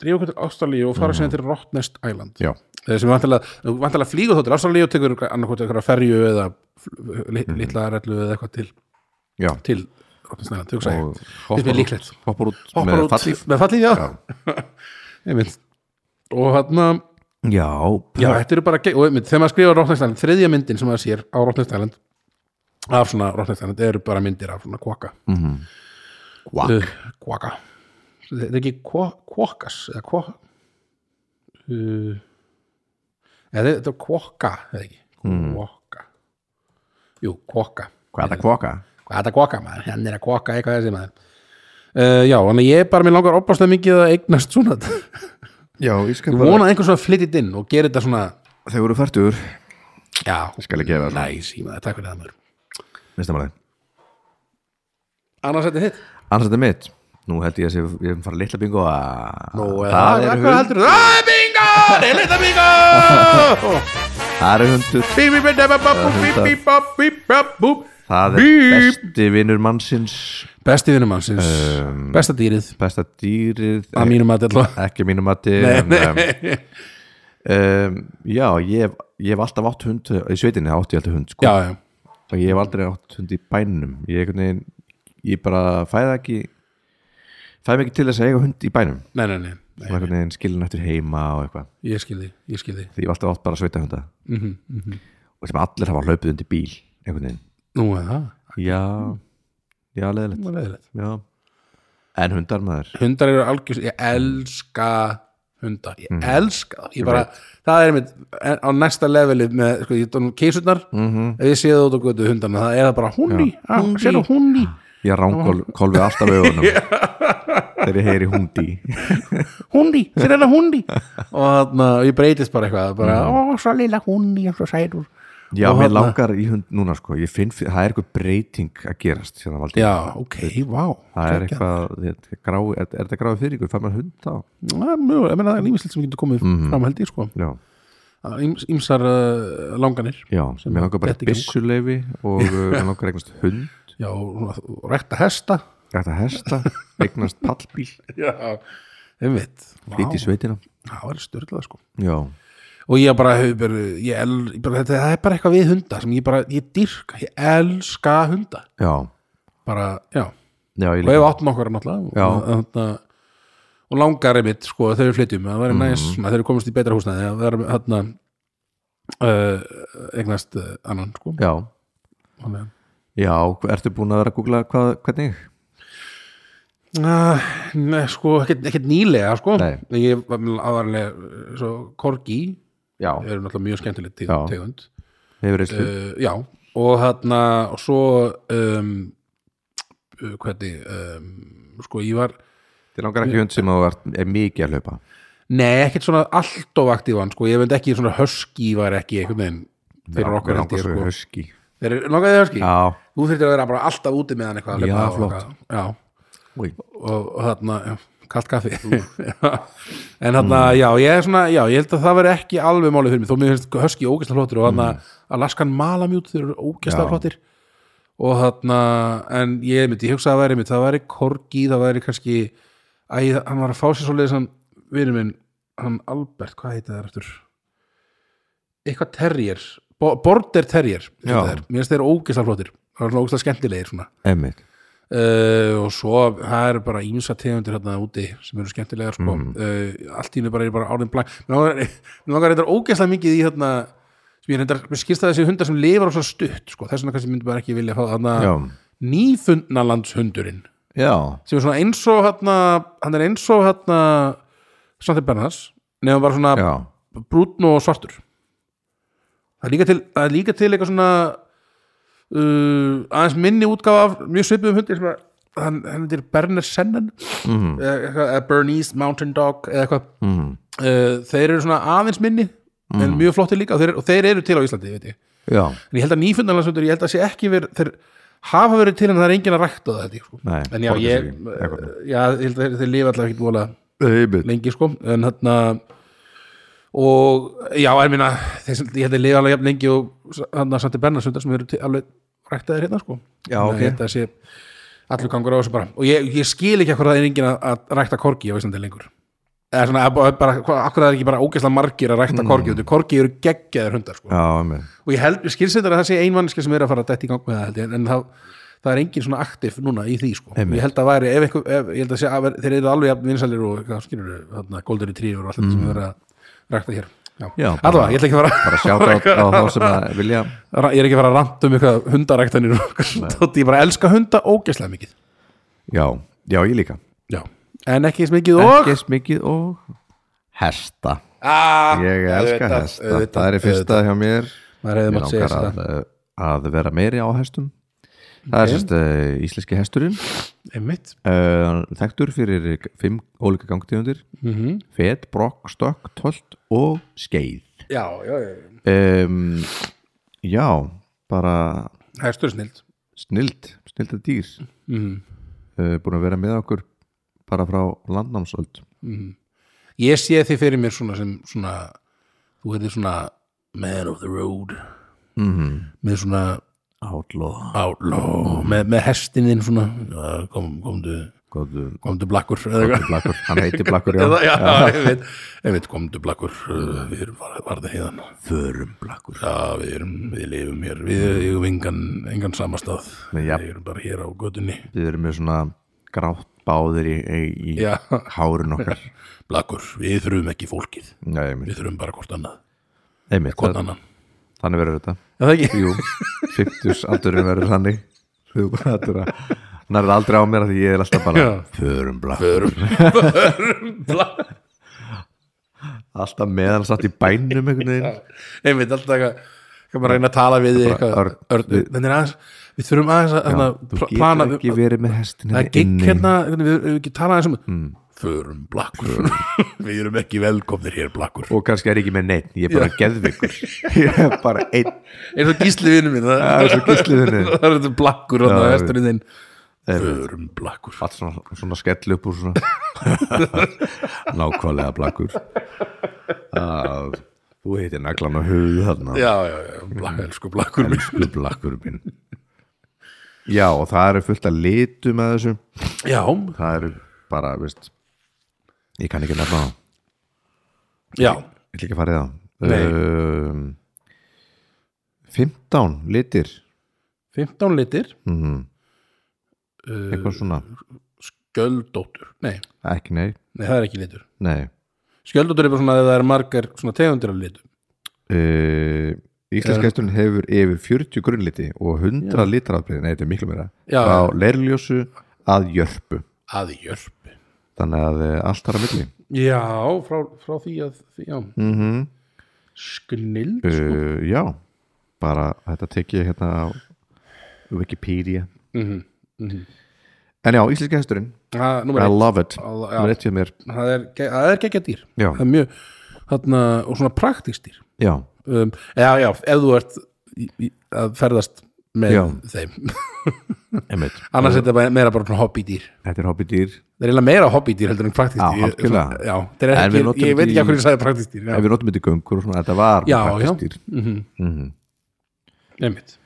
drífa okkur til Ástralíu og fara mm. sem til Rottnest Island
Mhm. Já
Eh, sem vantilega, vantilega flýgur þá til Ástralíu og tekur annarkvæmt eitthvað ferju eða fl- li-
Mhm.
litla rellu eða eitthvað til
Já
til Rottnesnæland, þú sagði
Og
ég. Finnst mér líklegt.
Hoppar út
Hoppar
með
út
fallíf
með fallíf, já, einmitt og hann að,
Já,
já, þetta eru bara ge- og einmitt, þegar maður skrifar Rottnesnæland, þriðja myndin sem maður sér á Rottnesnæland af svona Rottnesnæland eru bara myndir af svona kvaka
Kvak.
uh, kvaka þetta er ekki kvo- kvokas eða kvok uh, eða þetta er kvoka eða ekki, kvoka jú, kvoka
Hvað er það kvaka?
hvað er þetta að koka maður, hann er að koka eitthvað þessi maður uh, já, þannig að ég er bara mér langar opaslega mikið að eignast svona þetta.
Já, ég skal
ég vona að einhver svona flyttit inn og gerir þetta svona
Þeir voru færtur
já,
Skal ég gefa það svona.
næs, ég maður, takk fyrir það maður
Mistamæli
annars þetta er þitt
Annars þetta er mitt Nú held ég að sé, ég er að fara litla bingo að
Nú, eða
það, er
hvað
hund,
heldur þú? Ah, bingo, það er litla bingo
það er hundur
Bí, bí, bí, bí, bí, bí, bí, bí, bí, bí, bí,
Það er
bí.
besti vinnur mannsins
besti vinnum hansins
Ehm.
besta dýrið,
Besta dýrið
að mínum að dilla
Ekki mínu mati en, um, um, Já, ég hef, ég hef alltaf átt hund Í sveitinni átti ég alltaf hund sko.
já, já,
Og ég hef aldrei átt hund í bænum Ég, einhvern veginn, ég bara fæða ekki Fæði mig ekki til þess að eiga hund í bænum
nei, nei, nei, nei.
Og einhvern veginn skilin eftir heima og eitthvað
ég skilði, ég Mhm, skilði
Því ég hef alltaf átt bara sveitahunda Og sem allir hafa hlaupið undir bíl Einhvern veginn
nú er það,
Já, já, leðilegt
það var leðilegt
Já En hundar maður
hundar eru algjör ég elska hundar ég
Mm.
elska það, ég bara það er mitt á næsta leveli með sko, ég tónum keisutnar,
Mhm.
ef ég sé það út á götu hundarna, það er það bara hundi Ah,
Hundi.
sér það hundi,
Ég ránkólfi alltaf augunum Þegar ég heyri hundi
hundi, sér það hundi og þarna, og ég breytist bara eitthvað bara,
Mm.
ó, svo lilla hundi, svo sætur
Já,
Og
mér
þarna-
langar í hund núna sko Ég finn, fyrir- það er eitthvað breyting að gerast hérna, Valdi.
já, ok, vá
Það er eitthvað, þetta er grái- er er þetta gráði fyrir ykkur Fær maður hund þá?
Na, mjö, meina, það er nýmislegt sem getur komið
Mhm.
fram held ég sko
Já,
ímsar uh, langanir
já mér langar bara
Þetta ekki
í byssuleifi Og uh, mér langar eignast hund
já, og og rekta hesta
Gæta hesta, eignast pallbíl
já, einmitt
Lít í sveitina
það var styrlað sko
Já,
og ég bara, hefur bara, ég el, ég bara þetta, það er bara eitthvað við hunda sem ég bara, ég dyrka ég elska hunda
já,
bara, já,
já ég
og
líka
ef átt nokkar náttúrulega
Já.
og, þarna, og langar einmitt sko, þegar við flytjum, það
Mhm.
væri næs svona, þegar við komumst í betra húsnæði, það væri þarna uh, eignast uh, annan, sko
Já,
Þannig að-
já, ertu búin að vera að googla hvað, hvernig?
Ah, Nei, sko, ekkert, ekkert nýlega sko,
Nei.
ég var aðvarlega svo, Korgi
Já,
eru náttúrulega mjög skemmtilegt
Já.
tegund
hefur reyslu
uh, já, og þarna og svo um, uh, hvernig um, sko ég var,
Þið langar ekki hund sem þú ert- er mikið að hlaupa
nei ekkert svona allt of aktívan, sko, ég veit ekki svona höski var ekki einhvern veginn
Já,
fyrir
mér
okkur held
langar
ég,
svo í
sko.
husky
Þeir eru langaði hörski
Já.
Þú þurftir að vera bara alltaf úti með hann eitthvað að
Já,
hlaupa og
flott.
eitthvað. Já,
Új.
og, og þarna, já, kallt kaffi
Mm.
En þarna, já, ég er svona Já, ég held að það veri ekki alveg málið fyrir mig Þó mér finnst hörski ógæsla flottir og þarna Alaskan Malamute, þeir eru ógæsla
Mm. Já.
flottir og þarna en ég myndi, ég hugsa að það væri mitt, það væri Korgi, það væri kannski æ, hann var að fá sér svoleiðis hann, vinur minn, hann Albert, hvað heita það eftir eitthvað terrier, Bo border terrier
Já.
þetta er. mér finnst þeir ógislega flottir það er svona ógislega skemmtilegir svona
Einmitt.
uh, og svo, það eru bara ímsa tegundir hérna úti sem eru skemmtilegar sko. uh, allt í hennu bara er bara árið blank mér langar- mér langar reyndar ógislega mikið í hérna sem ég reyndar, mér skilst það þessi hundar sem lifar á svo stutt, sko, þess vegna kannski myndi bara ekki vilja fá þarna
Já.
nýfundnalandshundurinn
Já.
sem er svona eins og hérna, hann er eins og hérna Svante Bernars nefnum bara svona
Já.
brúnn og svartur það er líka til, það er líka til eitthvað svona uh, aðeins minni útgáfa af mjög svipuðum hundi sem að hann, hann heitir Berner Sennen mm. eða, eitthvað- eða Bernese Mountain Dog eða eitthvað mm.
Mhm.
uh, þeir eru svona aðeins minni en mjög flottir líka og þeir, og þeir eru til á Íslandi veit ég
Já.
en ég held að nýfundanlandsundur, ég held að sé ekki verið þeir hafa verið til en það er enginn að rækta það held ég, sko.
Nei,
en já,
borgar sig
ég
ekki, eitthvað.
já, ég held að þeir, þeir lifa allavega ekkert vola
Einmitt.
lengi sko, en hérna og já, en minna þeir, sem- ég held að þeir lifa alveg jafn lengi og hann að Santi Bernasundar sem eru til, alveg ræktaðir hérna sko
Já,
Þannig að
ok.
ég held að sé allur gangur á þessu bara og ég, ég skil ekki hvað það er enginn að, að rækta korgi á Íslandi lengur eða svona, að- að bara, akkur það er ekki bara ógeðslega margir að rækta korgi, mm. korgi eru geggjaðir hundar sko
Já, einmitt.
og ég held, ég skilsendar að það sé einmanniski sem er að fara að detti í gang með það held ég, en það, það er engin svona aktiv núna í því sko,
Einmitt.
ég held að væri ef eitthvað, ef, ég held að sé að ver- þeir eru alveg jafn vinsælir og hvað skilur þarna, goldur í tríur og allt þetta sem við verðum að rækta hér
Mm. Já,
já, allavega, ég ætla ekki að
Bara
fara
sjáta á, á þá sem að vilja.
ég er ekki að fara að ranta um eitthvað hundaræktanir og eitthvað svona dót, ég bara elska hunda ógeðslega mikið
Já. Já, ég líka.
já, en ekki eins mikið og
Ekki smikið og hesta.
Ah,
Ég elska
auðvitað,
hesta.
auðvitað,
það er í fyrsta hjá mér.
maður hefði
Mér
mátt segja
langar að,
þetta
að vera meiri á hestum. Það er sérst uh, íslenski hesturinn.
einmitt,
uh, þekktur fyrir fimm ólíka gangtíðundir
Mhm.
fet, brokk, stokk, tolt og skeið
já, já, já
um, já bara
hestur er snild
snild, snilda dýr
mm.
uh, búin að vera með okkur bara frá landnámsöld
ég sé þið fyrir mér svona sem svona, þú erði svona man of the road
mm.
með svona
outlaw
outlaw, með, með hestin þinn svona ja, kom, komdu,
Góðu,
komdu blakkur eða eitthvað.
blakkur, hann heiti Blakkur já.
Eða- já, ég veit, ég veit, komdu blakkur uh, við erum var- varða híðan förum blakkur já, við, erum, við lifum hér, við erum engan, engan samastað
Nei, ja.
við erum bara hér á gödunni
við erum með svona grátt báðir í, í, í
já,
hárun okkar
blakkur, við þurfum ekki fólkið
já, einmitt,
við þurfum bara hvort annað,
einmitt
hvort
það-
annan
þannig verður þetta
Já, það ekki?
Jú, 50 aldurinn verður þannig Þú bara þetta er að Hann er aldrei á mér að því ég er alltaf bara
Já.
Förum blá
Blakkur
Alltaf með hann satt í bænum einhvern veginn
einmitt alltaf eitthvað eitthvað bara að reyna að tala við þig eitthvað
Örn,
Örn, þannig aðeins, við þurfum aðeins að hérna,
Þú
pl-
getur
plana
ekki verið með hestin
það er gikk hérna, við við höfum ekki talað aðeins um mm. förum blakkur við erum ekki velkomnir hér blakkur
Og kannski er ég ekki með neitt, ég er bara geðvikur Ég er bara einn
eins og gísli vinnu mín það
Það er svo gísliðinni
það er þetta blakkur þarna
Já,
á
já,
hesturinn þinn förum blakkur
Allt svona, svona skell upp úr svona Nákvæmlega blakur að, Þú heitir naglan á höfuð þarna
já, já, já, blak, elsku blakkur mín
Mm. Elsku blakkur minn Já, og það eru fullt að litum að þessu
já,
það eru bara, veist ég kann ekki nefna það,
já,
ég vil ekki fara í
Nei.
það um, 15 litir
15 litir
mm
uh,
eitthvað svona,
skjöldóttur, nei,
ekki nei
nei, það er ekki litur
nei,
skjöldóttur er bara svona að það er margar svona tegundir af litum
uh, Íslenskæsturinn hefur yfir 40 grunnliti og 100 litrafbrið, nei, þetta er miklu meira
Já,
frá leirljósu að jörpu
að hjörpi
þannig að eh, allt þar að milli
Já, frá, frá því að því, já,
mm -hmm.
Mhm. sknild
uh, já, bara þetta tekið ég hérna á Wikipedia
Mhm.
en já, Íslenskæsturinn
Það, Ah, númer
I
eitt
love it,
Alla- já.
það er eitt hjá mér
það er, ge- það er gekkja dýr
Já.
það er mjög, þarna, og svona praktist dýr
Já,
um, já, já, ef þú ert í, í, að ferðast með
Já.
þeim
Einmitt.
annars er þetta bara- meira bara svona hobbydýr
Þetta er hobbydýr
það er eiginlega meira hobbydýr heldur en praktísk
Já,
dýr Ég-
algjörlega.
svona- já, þetta er
En við
ekki,
notum
ég veit ekki
þetta í-
af hverju ég sagði praktísk dýr já,
ef við notum þetta í göngur og svona, þetta var
Já,
praktískt dýr.
einmitt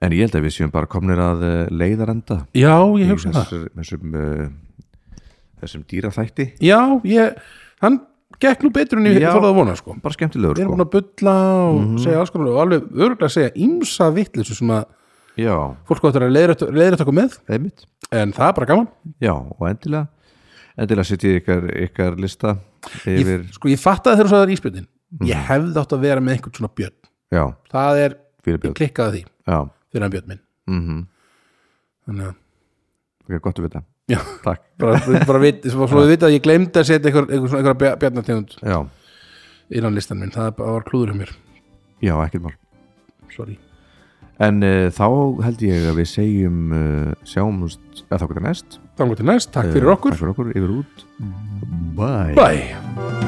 en ég held að við séum bara komnir að eh, leiðarenda
já,
í
ég hugsa það
þessar, þessum uh, þessum dýraþætti
já, ég, hann gekk nú betur en ég
Já.
þólaði að vona sko
bara skemmtilegur
við erum
sko.
búin
Mhm.
að bulla og segja alls konar og alveg örgulega segja ímsa vittlis sem að
já,
fólk áttur að leiðra takku með
einmitt
en það er bara gaman
já, og endilega endilega setjið ykkar, ykkar lista yfir,
ég, sko ég fattaði þegar þú sagði það er íspjöndin ég hefði átt að vera með einhvern svona björn
já,
það er,
fyrir
ég
björn
klikkaði því
já,
fyrir hann björn minn
mm
þannig að,
ok, gott að vita,
já,
takk
bara, bara vit, svo, svo við vitað að ég glemdi að setja einhver, einhver, svona- einhverja björ- bjarnategund
já,
innan listan minn, það er bara- var klúður hjá mér
já, ekkert mál
sorry,
en uh, þá held ég að við segjum uh, sjáumst, að þá gæta næst
þangur til næst, takk fyrir
Eh,
okkur
takk fyrir okkur, yfir út bye
bye